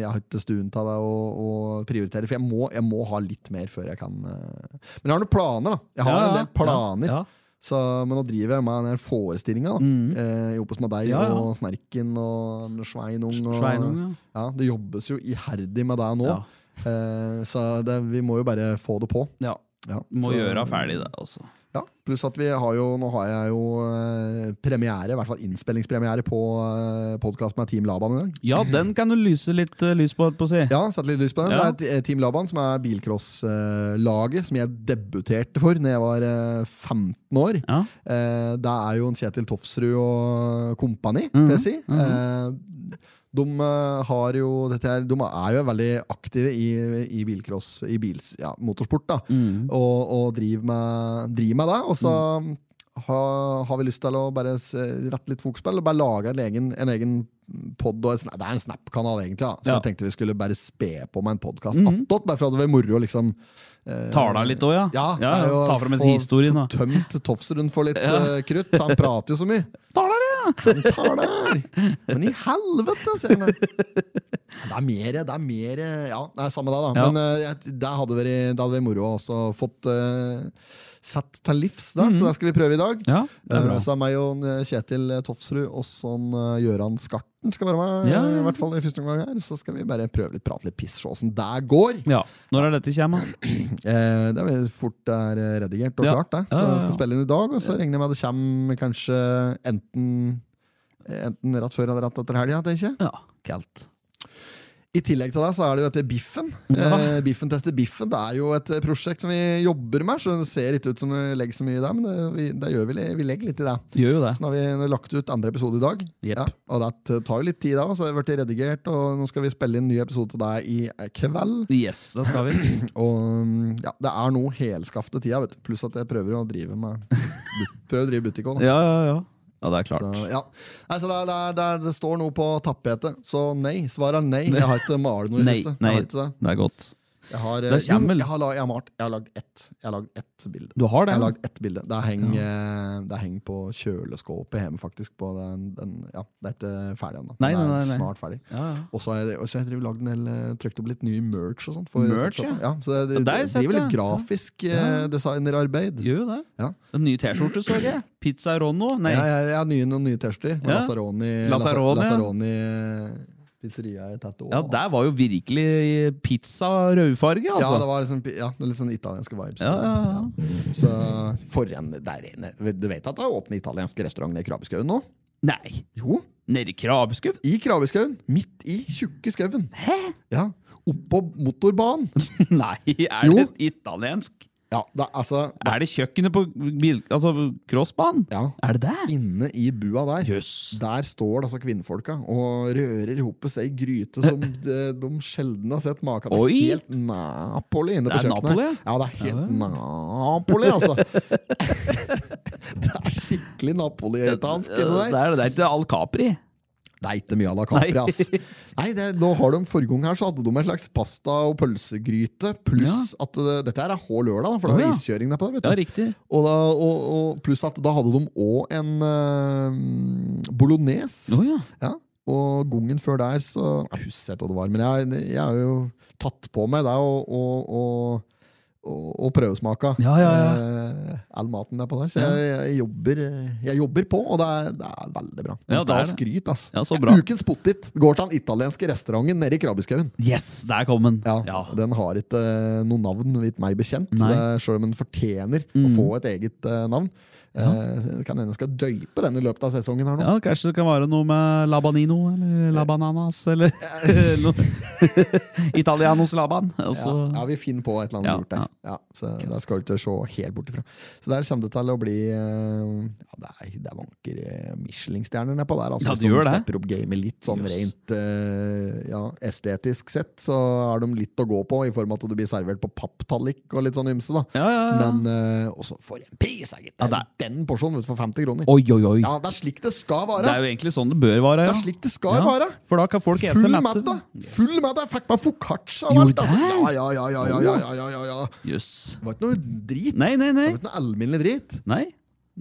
[SPEAKER 2] jeg har ikke stuen til det å, å prioritere, for jeg må, jeg må ha litt mer før jeg kan eh. Men jeg har noen planer, da. Jeg har
[SPEAKER 1] Ja,
[SPEAKER 2] en
[SPEAKER 1] ja,
[SPEAKER 2] del planer.
[SPEAKER 1] ja, ja.
[SPEAKER 2] Så, men nå driver jeg med den forestillinga, da. Eh, I Opos med deg
[SPEAKER 1] Ja, ja.
[SPEAKER 2] og Snerken og Sveinung. Og,
[SPEAKER 1] Sveinung, ja.
[SPEAKER 2] Det jobbes jo iherdig med deg nå.
[SPEAKER 1] Ja.
[SPEAKER 2] Eh, så det, vi må jo bare få det på.
[SPEAKER 1] Ja.
[SPEAKER 2] Ja,
[SPEAKER 1] Må
[SPEAKER 2] så-
[SPEAKER 1] gjøre ferdig det, altså.
[SPEAKER 2] ja, pluss at vi har jo, nå har jeg jo eh, premiere, i hvert fall innspillingspremiere på eh, podkast med Team Laban i dag.
[SPEAKER 1] Ja, den kan du lyse litt eh, lys på, holdt på å si.
[SPEAKER 2] Ja, satt litt lys på den.
[SPEAKER 1] Ja.
[SPEAKER 2] Det er T- Team Laban, som er bilcross-laget som jeg debuterte for når jeg var eh, 15 år.
[SPEAKER 1] Ja.
[SPEAKER 2] Eh, det er jo en Kjetil Tofsrud og kompani, vil jeg si. Eh, de, eh, har jo, dette her, de er jo veldig aktive i, i bilcross, i bils, ja, motorsport, da. Og, og driver, med, driver med det. Og så har, har vi lyst til å bare s- rette litt fokus på det, og bare lage en egen, en egen pod og et, sna- Det er en Snap-kanal, egentlig. Da. Så
[SPEAKER 1] Ja.
[SPEAKER 2] jeg tenkte vi skulle bare spe på med en podkast attåt, bare for at det var moro. liksom
[SPEAKER 1] Tala litt òg, ja.
[SPEAKER 2] ja,
[SPEAKER 1] ja,
[SPEAKER 2] det er jo
[SPEAKER 1] Ta fram
[SPEAKER 2] få-
[SPEAKER 1] historien,
[SPEAKER 2] få
[SPEAKER 1] da.
[SPEAKER 2] Tømt Tofsrud for litt eh, krutt. for Han prater jo så mye.
[SPEAKER 1] Tala, ja!
[SPEAKER 2] Han tar det her! Men i helvete, sier han. Det er mer, det er mer Ja, det er samme det, da.
[SPEAKER 1] Ja.
[SPEAKER 2] Men eh, jeg- det hadde vært, det hadde vært moro å også fått eh, sett til livs, da. så det skal vi prøve i dag.
[SPEAKER 1] Mhm. Ja, det er bra.
[SPEAKER 2] Eh, Så er meg og eh, Kjetil eh, Tofsrud og sånn eh, Gøran Skarten skal være med.
[SPEAKER 1] Ja, ja,
[SPEAKER 2] eh,
[SPEAKER 1] ja.
[SPEAKER 2] I hvert fall i første omgang her. Så skal vi bare prøve litt, prate litt piss, se åssen det går.
[SPEAKER 1] Ja, Når er dette kommer?
[SPEAKER 2] Eh, det er vel fort det er eh, redigert og
[SPEAKER 1] Ja.
[SPEAKER 2] klart, det. Så
[SPEAKER 1] Ja, ja, ja.
[SPEAKER 2] jeg skal spille inn i dag, og så regner jeg med det kommer kanskje enten Enten rett før eller rett etter helga, tenker jeg.
[SPEAKER 1] Ja, kaldt.
[SPEAKER 2] I tillegg til det så er det jo dette Biffen. Eh, biffen tester biffen. Det er jo et eh, prosjekt som vi jobber med, så det ser ikke ut som vi legger så mye i det, men det, vi, det gjør vi, li- vi legger litt i det.
[SPEAKER 1] Gjør jo det.
[SPEAKER 2] Så nå har vi nå har vi lagt ut andre episode i dag.
[SPEAKER 1] Jepp.
[SPEAKER 2] og det t- tar jo litt tid, da, så det har blitt redigert, og nå skal vi spille inn en ny episode til deg i eh, kveld.
[SPEAKER 1] Yes, det skal vi.
[SPEAKER 2] Og mm, ja, det er noe helskafte tida, vet du. Pluss at jeg prøver å drive med but- Prøver å drive butikk òg, da.
[SPEAKER 1] Ja, ja, ja. Ja, det er
[SPEAKER 2] Så,
[SPEAKER 1] klart.
[SPEAKER 2] ja. Nei, så det, er- det, er- det, er- det står noe på tapetet, så nei. Svaret er nei. Jeg har ikke malt noe i det
[SPEAKER 1] Nei,
[SPEAKER 2] siste. Jeg
[SPEAKER 1] nei,
[SPEAKER 2] har ikke det.
[SPEAKER 1] det er godt.
[SPEAKER 2] Jeg har, eh,
[SPEAKER 1] Det
[SPEAKER 2] jo,
[SPEAKER 1] kommer-
[SPEAKER 2] jeg har, la- jeg har malt. Jeg har lagd ett. Jeg har lagd ett bilde.
[SPEAKER 1] Du
[SPEAKER 2] Jeg
[SPEAKER 1] har det?
[SPEAKER 2] har
[SPEAKER 1] ja.
[SPEAKER 2] lagd ett bilde. Det henger eh, det henger på kjøleskåpet hjemme, faktisk. På den, den, ja, det er ikke ferdig ennå.
[SPEAKER 1] Nei,
[SPEAKER 2] Det er
[SPEAKER 1] nei, nei, nei.
[SPEAKER 2] Snart ferdig.
[SPEAKER 1] Ja, ja.
[SPEAKER 2] Og så har jeg, og så har jeg drevet lagd en del, eh, trykt opp litt ny merch og sånt. for-
[SPEAKER 1] Merch, ja.
[SPEAKER 2] ja. Så jeg
[SPEAKER 1] Ja, det har
[SPEAKER 2] driver,
[SPEAKER 1] jeg sett,
[SPEAKER 2] driver litt
[SPEAKER 1] ja.
[SPEAKER 2] grafisk eh, designerarbeid.
[SPEAKER 1] Gjør jo det.
[SPEAKER 2] Ja.
[SPEAKER 1] En ny T-skjorte, så jeg. Pizza Ronno. Nei.
[SPEAKER 2] Jeg, jeg, jeg har nye, noen nye tester.
[SPEAKER 1] Ja.
[SPEAKER 2] Lazzaroni,
[SPEAKER 1] Lazzaroni, ja.
[SPEAKER 2] Lazzaroni eh, pizzeria i Tattoo.
[SPEAKER 1] Ja, der var jo virkelig pizza rødfarge,
[SPEAKER 2] Ja, det
[SPEAKER 1] altså.
[SPEAKER 2] var liksom, ja, det er litt sånn italienske vibes.
[SPEAKER 1] Ja, ja, ja.
[SPEAKER 2] Så for en der inne Du vet at det er åpne italienske restauranter i Krabbeskauen nå?
[SPEAKER 1] Nei.
[SPEAKER 2] Jo,
[SPEAKER 1] Nede i Krabbeskauen?
[SPEAKER 2] i Krabbeskauen. Midt i tjukke skauen.
[SPEAKER 1] Hæ?
[SPEAKER 2] Ja. Oppå motorbanen.
[SPEAKER 1] Nei, er
[SPEAKER 2] Jo.
[SPEAKER 1] det italiensk?
[SPEAKER 2] Ja, det, altså
[SPEAKER 1] Er det kjøkkenet på bil, altså crossbanen?
[SPEAKER 2] Ja.
[SPEAKER 1] Er det det?
[SPEAKER 2] Inne i bua der.
[SPEAKER 1] Jøss.
[SPEAKER 2] Der står det altså kvinnfolka og rører ihop seg i gryte som de, de sjelden har sett maken til.
[SPEAKER 1] Oi!
[SPEAKER 2] Helt Napoli inne på
[SPEAKER 1] Det er
[SPEAKER 2] kjøkkenet.
[SPEAKER 1] Napoli, ja?
[SPEAKER 2] Ja, det er helt Napoli, altså. det er skikkelig Napoli-itansk
[SPEAKER 1] Det
[SPEAKER 2] inni der.
[SPEAKER 1] er det. Det er ikke Al Capri.
[SPEAKER 2] Det er ikke mye à la Capri,
[SPEAKER 1] Nei.
[SPEAKER 2] ass. Nei, det, nå har de Forrige gang her så hadde de en slags pasta- og pølsegryte, pluss at det, dette her er hå lørdag, da, for det
[SPEAKER 1] Å,
[SPEAKER 2] var
[SPEAKER 1] ja.
[SPEAKER 2] iskjøring nedpå der. vet du.
[SPEAKER 1] Ja, riktig.
[SPEAKER 2] Og, da, og, og pluss at da hadde de òg en eh, bolognese.
[SPEAKER 1] Å ja.
[SPEAKER 2] Ja, og gongen før der, så Jeg husker ikke hva det var, men jeg, jeg har jo tatt på meg det og, og, og, og, og prøvesmaka
[SPEAKER 1] Ja, ja,
[SPEAKER 2] Eh, all maten der på der. Så jeg, jeg, jobber, jeg jobber på, og det er, det er veldig bra. Du
[SPEAKER 1] Ja, det
[SPEAKER 2] skal ha
[SPEAKER 1] er det.
[SPEAKER 2] skryt, ass.
[SPEAKER 1] Ja, så bra.
[SPEAKER 2] Ukens pottit går til den italienske restauranten nede i Krabbeskauen.
[SPEAKER 1] Yes, der kom den.
[SPEAKER 2] Ja,
[SPEAKER 1] Ja.
[SPEAKER 2] Den har ikke eh, noe navn, vidt meg bekjent, så
[SPEAKER 1] Nei. Mm.
[SPEAKER 2] det er- selv om den fortjener å få et eget eh, navn. Eh, så det kan hende jeg skal døype den i løpet av sesongen her nå.
[SPEAKER 1] Ja, kanskje det kan være noe med labanino, eller labananas, eller noe. Italianos altså. laban. Altså,
[SPEAKER 2] Ja, ja, vi finner på et eller annet
[SPEAKER 1] Ja,
[SPEAKER 2] lurt der.
[SPEAKER 1] ja.
[SPEAKER 2] Ja, så der skal du ikke se helt bort ifra. Så der kommer det til å bli eh, Ja, det, er, det vanker eh, Michelin-stjerner nedpå der. Altså,
[SPEAKER 1] Ja,
[SPEAKER 2] hvis
[SPEAKER 1] det gjør
[SPEAKER 2] de
[SPEAKER 1] det.
[SPEAKER 2] stepper opp gamet litt sånn
[SPEAKER 1] Jøss.
[SPEAKER 2] rent eh, ja, estetisk sett, så har de litt å gå på, i form av at du blir servert på papptallik og litt sånn ymse, da.
[SPEAKER 1] Ja, ja, ja.
[SPEAKER 2] Men eh, også for en pris, da, gitt!
[SPEAKER 1] Ja,
[SPEAKER 2] det er
[SPEAKER 1] det
[SPEAKER 2] Den porsjonen vet du, for 50 kroner.
[SPEAKER 1] Oi, oi, oi.
[SPEAKER 2] Ja, det er slik det skal
[SPEAKER 1] Det
[SPEAKER 2] være.
[SPEAKER 1] er jo egentlig sånn det bør være.
[SPEAKER 2] Det
[SPEAKER 1] Ja.
[SPEAKER 2] er slik det skal
[SPEAKER 1] Ja,
[SPEAKER 2] være.
[SPEAKER 1] For da kan folk ete
[SPEAKER 2] Full
[SPEAKER 1] seg
[SPEAKER 2] mette!
[SPEAKER 1] mette.
[SPEAKER 2] Full mette! Jeg fikk meg foccaccia og
[SPEAKER 1] Gjorde
[SPEAKER 2] alt! Altså. Ja,
[SPEAKER 1] det?
[SPEAKER 2] ja, ja, ja, ja, ja, ja, ja, ja.
[SPEAKER 1] Jøss.
[SPEAKER 2] Det var ikke noe drit.
[SPEAKER 1] Nei, nei, nei.
[SPEAKER 2] Det var ikke noe alminnelig drit.
[SPEAKER 1] Nei,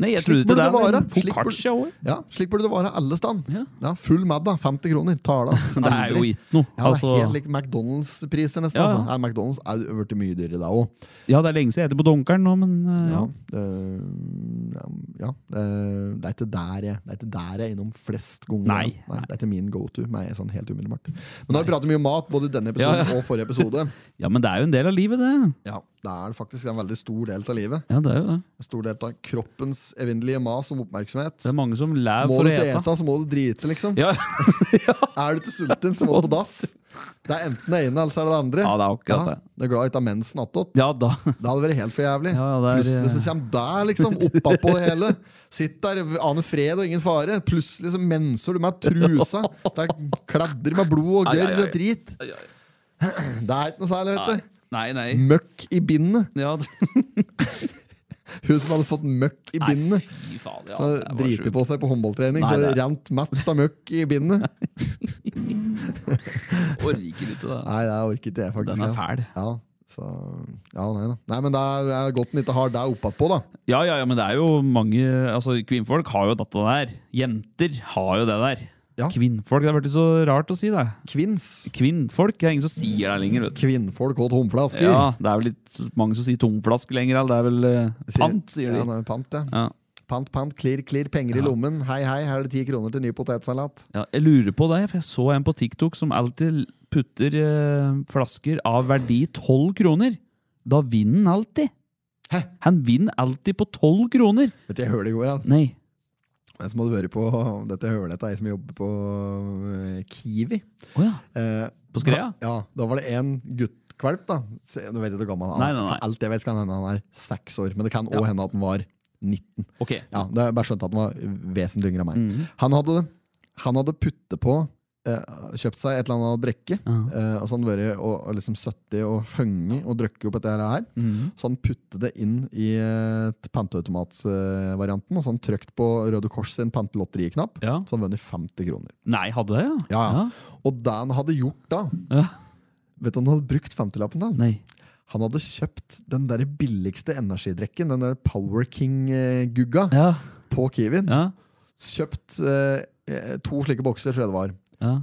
[SPEAKER 1] nei jeg
[SPEAKER 2] Slik
[SPEAKER 1] trodde
[SPEAKER 2] burde
[SPEAKER 1] ikke
[SPEAKER 2] det
[SPEAKER 1] det.
[SPEAKER 2] være.
[SPEAKER 1] men
[SPEAKER 2] Slik burde-
[SPEAKER 1] Focaccia òg.
[SPEAKER 2] Ja, Slik burde det være alle stand. Ja.
[SPEAKER 1] Ja.
[SPEAKER 2] full Madda, 50 kroner. Talas.
[SPEAKER 1] Det er jo ikke noe.
[SPEAKER 2] Ja, det
[SPEAKER 1] Altså,
[SPEAKER 2] er helt like McDonald's-priser, nesten.
[SPEAKER 1] Ja, ja.
[SPEAKER 2] Altså. Nei, McDonald's er jo blitt mye dyrere, det òg.
[SPEAKER 1] ja, det er lenge siden jeg heter på Donkeren nå, men eh,
[SPEAKER 2] Ja.
[SPEAKER 1] ja.
[SPEAKER 2] eh, ja. eh, det, er ikke der jeg, det er ikke der jeg er innom flest ganger.
[SPEAKER 1] Nei.
[SPEAKER 2] Nei, det er ikke min go to. Meg, sånn helt umiddelbart. Men nå har vi pratet mye om mat, både i denne episoden
[SPEAKER 1] Ja, ja.
[SPEAKER 2] og forrige episode.
[SPEAKER 1] ja, men det er jo en del av livet, det.
[SPEAKER 2] Ja, Det er faktisk en veldig stor del av livet.
[SPEAKER 1] Ja, det er jo det.
[SPEAKER 2] En stor del av kroppens evinnelige mas om oppmerksomhet.
[SPEAKER 1] Det er mange som lever
[SPEAKER 2] Må
[SPEAKER 1] for
[SPEAKER 2] du
[SPEAKER 1] å
[SPEAKER 2] ikke
[SPEAKER 1] ete.
[SPEAKER 2] ete, så må du drite, liksom.
[SPEAKER 1] Ja.
[SPEAKER 2] Er du ikke sulten, så må du på dass. Det er enten det ene eller så er det det andre.
[SPEAKER 1] Ja, det er akkurat det.
[SPEAKER 2] Du er glad jeg ikke har mensen attåt.
[SPEAKER 1] ja, da.
[SPEAKER 2] Det hadde vært helt for jævlig.
[SPEAKER 1] Ja, ja, det er- eh,
[SPEAKER 2] Plutselig så kommer der, liksom. Oppapå det hele. Sitt der, aner fred og ingen fare. Plutselig så menser du meg trusa. Der kladder med blod og
[SPEAKER 1] Ai, ai,
[SPEAKER 2] gørr
[SPEAKER 1] ai.
[SPEAKER 2] og drit.
[SPEAKER 1] Ai, ai.
[SPEAKER 2] Det er ikke noe særlig, vet du. Mm.
[SPEAKER 1] Nei, nei.
[SPEAKER 2] Møkk i bindet.
[SPEAKER 1] Ja, det-
[SPEAKER 2] Hun som hadde fått møkk i
[SPEAKER 1] nei,
[SPEAKER 2] bindet.
[SPEAKER 1] fy faen. Ja,
[SPEAKER 2] Så
[SPEAKER 1] det var
[SPEAKER 2] driter
[SPEAKER 1] sjukt.
[SPEAKER 2] på seg på håndballtrening,
[SPEAKER 1] Nei,
[SPEAKER 2] så
[SPEAKER 1] det er-
[SPEAKER 2] rent mett av møkk i bindet.
[SPEAKER 1] Orker ikke det.
[SPEAKER 2] Nei, det orker ikke jeg, faktisk.
[SPEAKER 1] Den er
[SPEAKER 2] ja.
[SPEAKER 1] fæl.
[SPEAKER 2] Ja, så, ja nei da. Nei, men det er, det er godt den ikke har deg oppatpå, da.
[SPEAKER 1] Ja, ja, ja, men det er jo mange Altså, kvinnfolk har jo dette der. Jenter har jo det der.
[SPEAKER 2] Ja.
[SPEAKER 1] Kvinnfolk, det har blitt så rart å si det.
[SPEAKER 2] Kvinns.
[SPEAKER 1] Kvinnfolk, det er ingen som sier det lenger, vet du.
[SPEAKER 2] Kvinnfolk og tomflasker.
[SPEAKER 1] Ja, det er vel litt mange som sier tomflaske lenger, eller det er vel eh, pant, sier
[SPEAKER 2] Ja,
[SPEAKER 1] de.
[SPEAKER 2] det er pant, ja.
[SPEAKER 1] Ja.
[SPEAKER 2] Pant, pant, klirr, klirr, penger i lommen. Hei, hei, her er det ti kroner til ny potetsalat.
[SPEAKER 1] Ja, jeg lurer på det, for jeg så en på TikTok som alltid putter eh, flasker av verdi 12 kroner. Da vinner han alltid. Han vinner alltid på 12 kroner.
[SPEAKER 2] Vet du, jeg hørte i går, han.
[SPEAKER 1] Nei.
[SPEAKER 2] Jeg som hadde vært på dette hølet til ei som jobber på øh, Kiwi.
[SPEAKER 1] Å ja.
[SPEAKER 2] Eh,
[SPEAKER 1] På Skrea?
[SPEAKER 2] Da, ja, da var det en guttkvalp, da. Så, nå vet jeg ikke hvor gammel han er.
[SPEAKER 1] Nei, nei, nei.
[SPEAKER 2] For alt jeg vet, så kan hende han er seks år. Men det kan òg
[SPEAKER 1] Ja.
[SPEAKER 2] hende at han var 19.
[SPEAKER 1] Ok.
[SPEAKER 2] Ja, det er bare skjønt at han var vesentlig yngre enn meg.
[SPEAKER 1] Mhm.
[SPEAKER 2] Han hadde, han hadde puttet på eh, Kjøpt seg et eller annet å drikke. eh, og så hadde han vært og, og liksom 70 og hengt og drukket opp dette her. Så han puttet det inn i eh, panteautomatvarianten. og så han trykt på Røde Kors sin pantelotteriknapp.
[SPEAKER 1] Ja.
[SPEAKER 2] Så han vunnet 50 kroner.
[SPEAKER 1] Nei, hadde jeg, ja.
[SPEAKER 2] Og det han hadde gjort da
[SPEAKER 1] Ja.
[SPEAKER 2] Vet du om han hadde brukt 50-lappen da?
[SPEAKER 1] Nei.
[SPEAKER 2] Han hadde kjøpt den der billigste energidrekken, den der Power King-gugga,
[SPEAKER 1] Ja.
[SPEAKER 2] på Kiwin.
[SPEAKER 1] Ja.
[SPEAKER 2] Kjøpt eh, to slike bokser, tror jeg det var.
[SPEAKER 1] ja.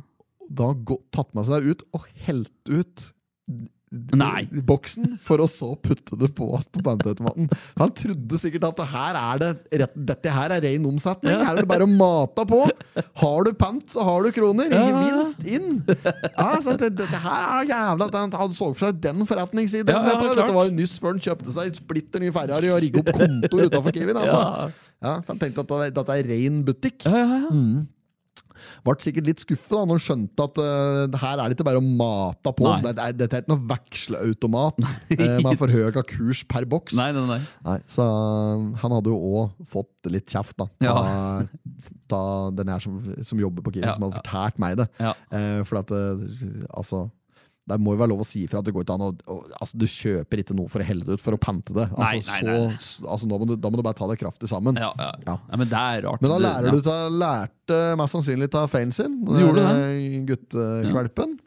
[SPEAKER 2] Da gå, tatt med seg det ut og helt ut d- d-
[SPEAKER 1] Nei.
[SPEAKER 2] boksen, for å så putte det på på bandautomaten. Han trodde sikkert at det her er det, rett, dette her er ren omsetning. Her er det bare å mate på. Har du pant, så har du kroner. Ingen
[SPEAKER 1] Ja, ja, ja.
[SPEAKER 2] vinst inn. Ja, sant? Det, dette her er jævla at Han han så for seg den forretningssiden.
[SPEAKER 1] Ja, ja,
[SPEAKER 2] Dette-
[SPEAKER 1] klart.
[SPEAKER 2] Dette var jo nyss før han kjøpte seg splitter ny Ferrari og rigget opp kontor utafor Kiwin. han da.
[SPEAKER 1] Ja.
[SPEAKER 2] Ja, for han tenkte at det var- dette er ren butikk.
[SPEAKER 1] Ja, ja, ja.
[SPEAKER 2] Mm. Ble sikkert litt skuffet da når han skjønte at eh, det her er det ikke bare å mate på.
[SPEAKER 1] Nei.
[SPEAKER 2] Det, er- dette er ikke noe veksleautomat eh, med for høy kurs per boks.
[SPEAKER 1] Nei, nei, nei.
[SPEAKER 2] Nei, så eh, han hadde jo òg fått litt kjeft, da. Ta,
[SPEAKER 1] Ja.
[SPEAKER 2] ta den her som, som jobber på Kiwi,
[SPEAKER 1] Ja,
[SPEAKER 2] som hadde fortalt meg det.
[SPEAKER 1] Ja.
[SPEAKER 2] Eh, for at eh, altså det må jo være lov å si ifra at det går ikke an å, å altså, Du kjøper ikke noe for å helle det ut, for å pante det.
[SPEAKER 1] Nei,
[SPEAKER 2] Altså,
[SPEAKER 1] nei, nei, nei.
[SPEAKER 2] Så, altså, nå må du, da må du bare ta det kraftig sammen.
[SPEAKER 1] Ja, ja.
[SPEAKER 2] Ja.
[SPEAKER 1] ja. Men det er rart.
[SPEAKER 2] Men da
[SPEAKER 1] Det-
[SPEAKER 2] lærer
[SPEAKER 1] ja.
[SPEAKER 2] du ta, lærte mest sannsynlig ta feilen sin.
[SPEAKER 1] Du gjorde
[SPEAKER 2] det. eh, Guttekvalpen.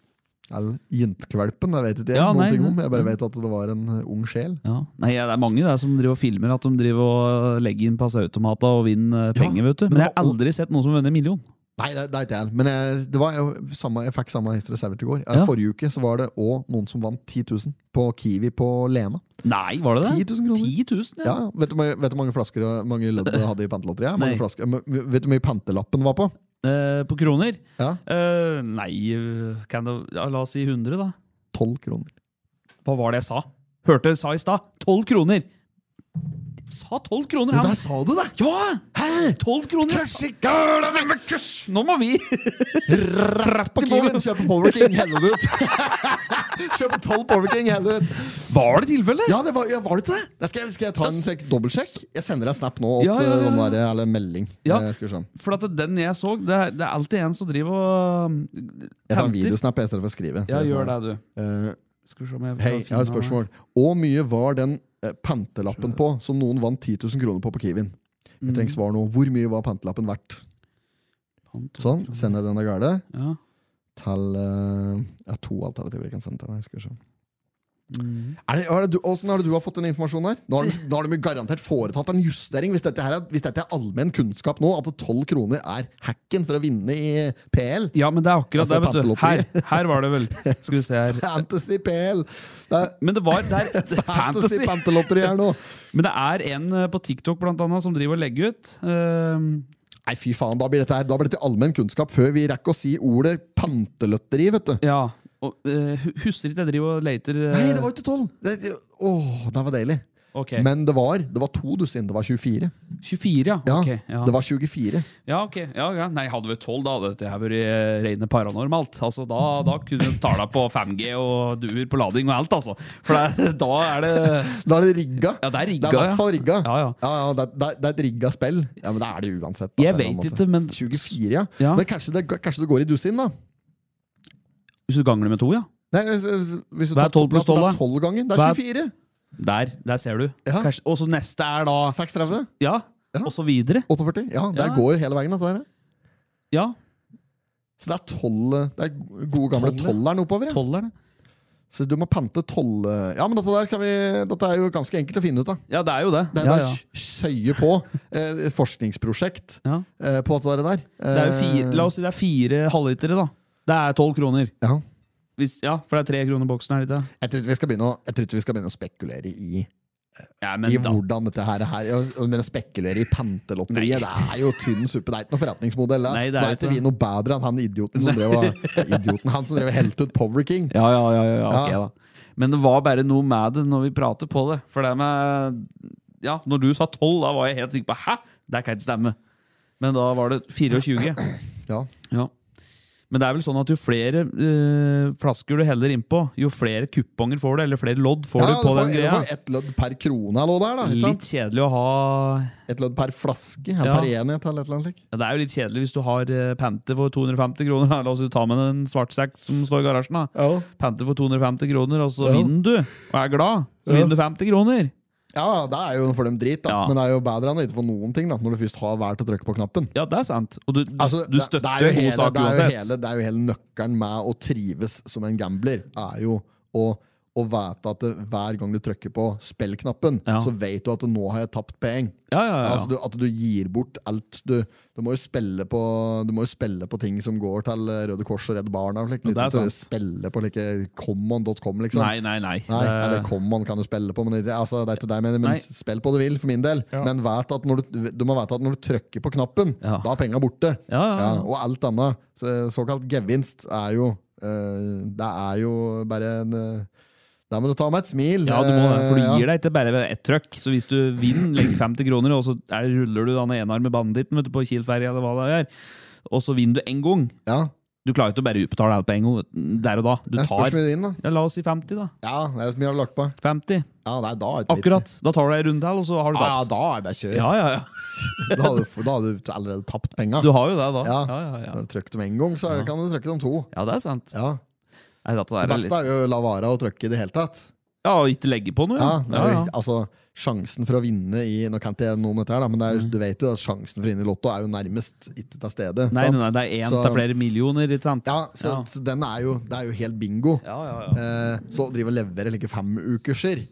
[SPEAKER 2] Eller jentekvalpen, jeg vet ikke jeg,
[SPEAKER 1] Ja,
[SPEAKER 2] noen
[SPEAKER 1] nei,
[SPEAKER 2] ting om.
[SPEAKER 1] nei.
[SPEAKER 2] Jeg bare vet at det var en eh, ung sjel.
[SPEAKER 1] Ja. Nei, ja, det er mange der som driver og filmer at de driver og legger inn passeautomater og vinner eh, penger, vet du.
[SPEAKER 2] men
[SPEAKER 1] Men jeg har
[SPEAKER 2] hva-
[SPEAKER 1] aldri sett noen som har vunnet en million.
[SPEAKER 2] Nei, det, det er ikke jeg. Men jeg, det var, jo samme, jeg fikk samme historie servert i går. Eh,
[SPEAKER 1] Ja.
[SPEAKER 2] Forrige uke så var det òg noen som vant 10 000 på Kiwi på Lena.
[SPEAKER 1] Nei, var det det?
[SPEAKER 2] 10 000 kroner.
[SPEAKER 1] 10 000,
[SPEAKER 2] Ja,
[SPEAKER 1] ja.
[SPEAKER 2] Vet du hvor mange- vet du hvor mange flasker og mange lødd det hadde i pantelotteriet? Mange
[SPEAKER 1] Nei.
[SPEAKER 2] flasker- eh, men Vet du hvor mye pantelappen var på?
[SPEAKER 1] Eh, på kroner?
[SPEAKER 2] Ja,
[SPEAKER 1] Eh, nei, eh, kan det, ja, la oss si 100, da.
[SPEAKER 2] 12 kroner.
[SPEAKER 1] Hva var det jeg sa? Hørte jeg sa i stad? 12 kroner! Jeg Sa 12 kroner!
[SPEAKER 2] Men
[SPEAKER 1] Han.
[SPEAKER 2] der sa du det!
[SPEAKER 1] Ja!
[SPEAKER 2] Hæ?
[SPEAKER 1] 12 kroner! jeg sa- Nå må vi
[SPEAKER 2] Rett på Kiwien, kjøpe Power King, helle det ut! Kjøpe tolv Burger King, helvete!
[SPEAKER 1] Var det tilfellet?
[SPEAKER 2] Ja, det var, ja, var det ikke det? Da skal, jeg, skal jeg ta en sjekk, dobbeltsjekk? Jeg sender deg snap nå, åt,
[SPEAKER 1] Ja, ja, ja,
[SPEAKER 2] eh, den
[SPEAKER 1] ja.
[SPEAKER 2] der, eller melding.
[SPEAKER 1] Ja.
[SPEAKER 2] Eh, Skal vi se.
[SPEAKER 1] For at den jeg så, det er, det er alltid en som driver og um,
[SPEAKER 2] Jeg tar en
[SPEAKER 1] henter.
[SPEAKER 2] videosnap i stedet for å skrive.
[SPEAKER 1] Ja, gjør det, du.
[SPEAKER 2] Eh,
[SPEAKER 1] Skal vi se om jeg
[SPEAKER 2] Hei, jeg har et spørsmål. Hvor mye var den eh, pantelappen på som noen vant 10 000 kroner på på Kiwin? Jeg trenger svar nå. Hvor mye var pantelappen verdt? Sånn, sender jeg den av gårde
[SPEAKER 1] Ja.
[SPEAKER 2] til eh, Jeg har to alternativer jeg kan sende til deg. Skal vi se. Er det, er det du, hvordan er det du har fått den informasjonen her? Nå har de, nå har de jo garantert foretatt en justering. Hvis dette, her er, hvis dette er allmenn kunnskap nå, at 12 kroner er hacken for å vinne i PL
[SPEAKER 1] ja, men det er akkurat
[SPEAKER 2] Altså,
[SPEAKER 1] det, vet du. Her,
[SPEAKER 2] pantelotteriet.
[SPEAKER 1] her var det vel. Skal vi se her.
[SPEAKER 2] Fantasy PL! Det er
[SPEAKER 1] Men det var der Fantasy!
[SPEAKER 2] fantasy pantelotteri her nå!
[SPEAKER 1] Men det er en eh, på TikTok blant annet som driver og legger ut. Um,
[SPEAKER 2] Nei, fy faen, da blir dette her Da blir dette allmenn kunnskap før vi rekker å si ordet panteløtteri, vet du.
[SPEAKER 1] ja. Og, eh, hu- husker ikke jeg driver og leter eh,
[SPEAKER 2] Nei, det var jo ikke tolv! Det- det- Åh, det var deilig.
[SPEAKER 1] ok.
[SPEAKER 2] Men det var det var to dusin. Det var 24.
[SPEAKER 1] 24, ja.
[SPEAKER 2] Ja,
[SPEAKER 1] ok, ja.
[SPEAKER 2] Det var 24.
[SPEAKER 1] ja, ok. Ja, ja. Nei, hadde vi 12, da hadde dette her vært eh, rene paranormalt. Altså, da, da kunne du tala på 5G og duer på lading og alt, altså. For det, da er det
[SPEAKER 2] Da er det rigga.
[SPEAKER 1] Ja, det er rigga,
[SPEAKER 2] Det er i hvert fall
[SPEAKER 1] ja.
[SPEAKER 2] rigga.
[SPEAKER 1] Ja, ja.
[SPEAKER 2] ja, det, er- det, er- det er et rigga spill. Ja, Men det er det uansett. da,
[SPEAKER 1] Jeg
[SPEAKER 2] på en eller
[SPEAKER 1] vet
[SPEAKER 2] annen måte.
[SPEAKER 1] ikke, men
[SPEAKER 2] 24, ja.
[SPEAKER 1] Ja.
[SPEAKER 2] Men kanskje det, kanskje det går i dusin, da?
[SPEAKER 1] Hvis du ganger det med to, ja.
[SPEAKER 2] Nei, hvis, hvis du
[SPEAKER 1] Hva er
[SPEAKER 2] tar
[SPEAKER 1] 12 pluss 12
[SPEAKER 2] da?
[SPEAKER 1] da?
[SPEAKER 2] Det er 12 ganger. Det
[SPEAKER 1] Hva
[SPEAKER 2] er
[SPEAKER 1] er-
[SPEAKER 2] 24.
[SPEAKER 1] Der, der ser du.
[SPEAKER 2] Ja.
[SPEAKER 1] Kanskje- Og så neste er da
[SPEAKER 2] 36.
[SPEAKER 1] Ja,
[SPEAKER 2] Ja.
[SPEAKER 1] og så videre.
[SPEAKER 2] 48. Ja, det
[SPEAKER 1] Ja.
[SPEAKER 2] går jo hele veien. dette her.
[SPEAKER 1] Ja,
[SPEAKER 2] Så det er 12, det er gode gamle
[SPEAKER 1] Tolv, ja.
[SPEAKER 2] tolleren oppover. Ja.
[SPEAKER 1] tolv er det.
[SPEAKER 2] Så du må pante toll... Ja, men dette, der kan vi, dette er jo ganske enkelt å finne ut av.
[SPEAKER 1] Ja, det er jo det.
[SPEAKER 2] Det er
[SPEAKER 1] ja,
[SPEAKER 2] bare
[SPEAKER 1] ja.
[SPEAKER 2] å søye på eh, et forskningsprosjekt
[SPEAKER 1] Ja.
[SPEAKER 2] eh, på dette der.
[SPEAKER 1] Det er jo
[SPEAKER 2] Eh.
[SPEAKER 1] fire, la oss si det er fire halvlitere, da. Det er tolv kroner.
[SPEAKER 2] ja.
[SPEAKER 1] Hvis, ja, for det er tre kroner boksen, er det ikke? det?
[SPEAKER 2] Jeg tror ikke vi skal begynne å, jeg tror ikke vi skal begynne å spekulere i,
[SPEAKER 1] Ja,
[SPEAKER 2] i
[SPEAKER 1] men da.
[SPEAKER 2] hvordan dette her er. Jeg begynner å spekulere i pantelotteriet. Det er jo tynn suppe. Det er ikke noe forretningsmodell.
[SPEAKER 1] Nei, det
[SPEAKER 2] det
[SPEAKER 1] er
[SPEAKER 2] er
[SPEAKER 1] ikke
[SPEAKER 2] ikke vi noe bedre enn han idioten som drev og- idioten, han som drev og helte ut Power King.
[SPEAKER 1] Ja, ja, ja, ja, ok
[SPEAKER 2] Ja.
[SPEAKER 1] da. Men det var bare noe med det når vi prater på det. For det med Ja, når du sa tolv, da var jeg helt sikker på Hæ?! Det kan ikke stemme. Men da var det 24.
[SPEAKER 2] Ja.
[SPEAKER 1] Ja. Men det er vel sånn at jo flere eh, flasker du heller innpå, jo flere kuponger får du, eller flere lodd får
[SPEAKER 2] Ja,
[SPEAKER 1] du på
[SPEAKER 2] får-
[SPEAKER 1] den
[SPEAKER 2] du
[SPEAKER 1] greia.
[SPEAKER 2] får ett lødd per krone eller noe der, da. Ikke sant?
[SPEAKER 1] Litt kjedelig å ha
[SPEAKER 2] Et lødd per flaske, ja.
[SPEAKER 1] Ja.
[SPEAKER 2] per enhet eller et eller annet slikt.
[SPEAKER 1] ja, Det er jo litt kjedelig hvis du har eh, Pante for 250 kroner. da. La oss jo ta med en svartsekk som står i garasjen. da
[SPEAKER 2] Ja.
[SPEAKER 1] Pante for 250 kroner, og så
[SPEAKER 2] Ja.
[SPEAKER 1] vinner du og er glad. Så
[SPEAKER 2] Ja.
[SPEAKER 1] vinner du 50 kroner.
[SPEAKER 2] det er jo for dem drit, da.
[SPEAKER 1] Ja.
[SPEAKER 2] Men det er jo bedre enn å ikke få noen ting, da, når du først har valgt å trykke på knappen.
[SPEAKER 1] Ja, det er sant. Og du, du,
[SPEAKER 2] Altså,
[SPEAKER 1] du
[SPEAKER 2] det- det er
[SPEAKER 1] støtter
[SPEAKER 2] jo
[SPEAKER 1] jo
[SPEAKER 2] hele- det
[SPEAKER 1] gode
[SPEAKER 2] er
[SPEAKER 1] saker
[SPEAKER 2] jo
[SPEAKER 1] uansett.
[SPEAKER 2] hele- Det er jo hele nøkkelen med å trives som en gambler, er jo å å vite at det, hver gang du trykker på spillknappen,
[SPEAKER 1] Ja.
[SPEAKER 2] så vet du at nå har jeg tapt penger.
[SPEAKER 1] Ja, ja, ja.
[SPEAKER 2] Altså, du, at du gir bort alt. Du, du, må jo spille på, du må jo spille på ting som går til eh, Røde Kors og Redd Barna. og slikt,
[SPEAKER 1] Ja, det er
[SPEAKER 2] uten til å
[SPEAKER 1] sant.
[SPEAKER 2] Spille på like common.com, liksom.
[SPEAKER 1] Nei, nei, nei.
[SPEAKER 2] Nei,
[SPEAKER 1] Det-
[SPEAKER 2] eller Common kan du spille på, men det, altså, det er ikke det jeg mener. Men
[SPEAKER 1] Nei.
[SPEAKER 2] spill på det vil, for min del. Men vet at når du, du må vite at når du trykker på knappen,
[SPEAKER 1] Ja.
[SPEAKER 2] da er penga borte.
[SPEAKER 1] Ja, ja, ja.
[SPEAKER 2] og alt annet. Så, eh, såkalt gevinst er jo eh, Det er jo bare en uh, Der må du ta med et smil.
[SPEAKER 1] Ja, du må det, for du
[SPEAKER 2] Eh,
[SPEAKER 1] gir deg ikke bare ved ett trøkk. Så hvis du vinner, legger 50 kroner, og så er, ruller du den enarmede banditten vet du, på Kielferja, eller hva det er, og så vinner du én gang
[SPEAKER 2] Ja,
[SPEAKER 1] Du klarer ikke å bare utbetale alt på en gang der og da. Du
[SPEAKER 2] det er
[SPEAKER 1] tar
[SPEAKER 2] spørsmålet din, da.
[SPEAKER 1] ja, La oss si 50, da.
[SPEAKER 2] Ja, det er så mye du har lagt på.
[SPEAKER 1] 50.
[SPEAKER 2] Ja, nei, da er det ikke vits i.
[SPEAKER 1] Akkurat. Da tar du deg en runde til, og så har du
[SPEAKER 2] Ja, ja,
[SPEAKER 1] tapt.
[SPEAKER 2] da er det bare kjør.
[SPEAKER 1] Ja, ja, ja.
[SPEAKER 2] Da hadde du- da hadde du allerede tapt penga.
[SPEAKER 1] Du har jo det, da. Ja,
[SPEAKER 2] Ja.
[SPEAKER 1] ja, ja.
[SPEAKER 2] Når du trykker dem én gang, så kan du trykke dem to.
[SPEAKER 1] ja det er sant.
[SPEAKER 2] Ja.
[SPEAKER 1] Nei, dette
[SPEAKER 2] Det
[SPEAKER 1] der er
[SPEAKER 2] beste
[SPEAKER 1] litt
[SPEAKER 2] er jo å la være å trykke i det hele tatt.
[SPEAKER 1] Ja, og ikke legge på noe,
[SPEAKER 2] Ja,
[SPEAKER 1] ja.
[SPEAKER 2] det er,
[SPEAKER 1] ja,
[SPEAKER 2] jo
[SPEAKER 1] ja.
[SPEAKER 2] ikke- Altså, sjansen for å vinne i Nå kan ikke jeg noe om dette, her da, men det er, du vet jo at sjansen for å vinne i Lotto er jo nærmest ikke til stede.
[SPEAKER 1] Mm. Nei,
[SPEAKER 2] sant?
[SPEAKER 1] nei, nei, det er én
[SPEAKER 2] Så-
[SPEAKER 1] til flere millioner, ikke sant?
[SPEAKER 2] Ja, så,
[SPEAKER 1] ja.
[SPEAKER 2] så den er jo, det er jo helt bingo.
[SPEAKER 1] Ja, ja, ja.
[SPEAKER 2] Eh, så å drive og levere like femukerser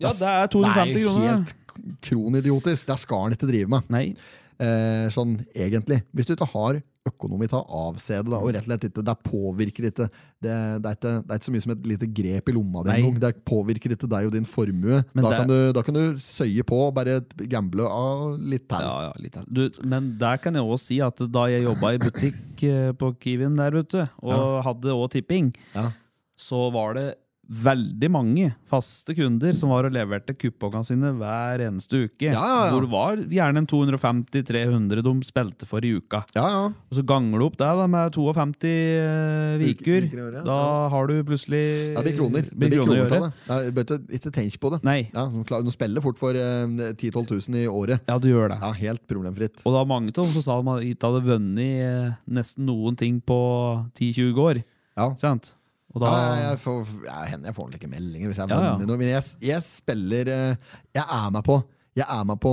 [SPEAKER 1] ja, det er 250
[SPEAKER 2] Det er jo
[SPEAKER 1] kroner.
[SPEAKER 2] helt kronidiotisk. Det skal han ikke drive med.
[SPEAKER 1] Nei.
[SPEAKER 2] eh, sånn egentlig. Hvis du ikke har økonomi til å avse det, da, og rett og slett ikke, det påvirker ikke det, det, er ikke det er ikke så mye som et lite grep i lomma di
[SPEAKER 1] Nei.
[SPEAKER 2] engang. Det påvirker ikke deg og din formue.
[SPEAKER 1] Men
[SPEAKER 2] Da,
[SPEAKER 1] det-
[SPEAKER 2] kan du, da kan du søye på og bare gamble av litt til.
[SPEAKER 1] Ja, ja, litt av- du, Men der kan jeg også si at da jeg jobba i butikk eh, på Kiwin der ute, og hadde også tipping,
[SPEAKER 2] Ja.
[SPEAKER 1] så var det veldig mange faste kunder som var og leverte kuppongene sine hver eneste
[SPEAKER 2] Ja,
[SPEAKER 1] uke.
[SPEAKER 2] ja, ja.
[SPEAKER 1] Hvor det var gjerne en 250-300 de spilte for i uka.
[SPEAKER 2] Ja, ja.
[SPEAKER 1] Og så ganger du opp det da, med 52 eh,
[SPEAKER 2] Uke-
[SPEAKER 1] viker.
[SPEAKER 2] viker i året, ja.
[SPEAKER 1] Da har du plutselig
[SPEAKER 2] Det blir kroner. Det
[SPEAKER 1] blir
[SPEAKER 2] blir
[SPEAKER 1] kroner
[SPEAKER 2] kroner
[SPEAKER 1] i
[SPEAKER 2] av
[SPEAKER 1] året.
[SPEAKER 2] det. Ja, jeg bør ikke- Ikke tenk på det.
[SPEAKER 1] Nei,
[SPEAKER 2] Ja, de klar- de spiller fort for eh, 10 000-12 000 i året.
[SPEAKER 1] ja, du gjør det.
[SPEAKER 2] Ja, helt problemfritt.
[SPEAKER 1] Og da mange av dem som sa de hadde- ikke hadde vunnet eh, nesten noen ting på 10-20 år.
[SPEAKER 2] Ja.
[SPEAKER 1] Ikke sant? Og da,
[SPEAKER 2] Ja, jeg, jeg, får, ja, hender jeg får noen like meldinger hvis jeg
[SPEAKER 1] Ja, ja.
[SPEAKER 2] vinner noe. Men jeg, jeg spiller eh, Jeg er med på Jeg er med på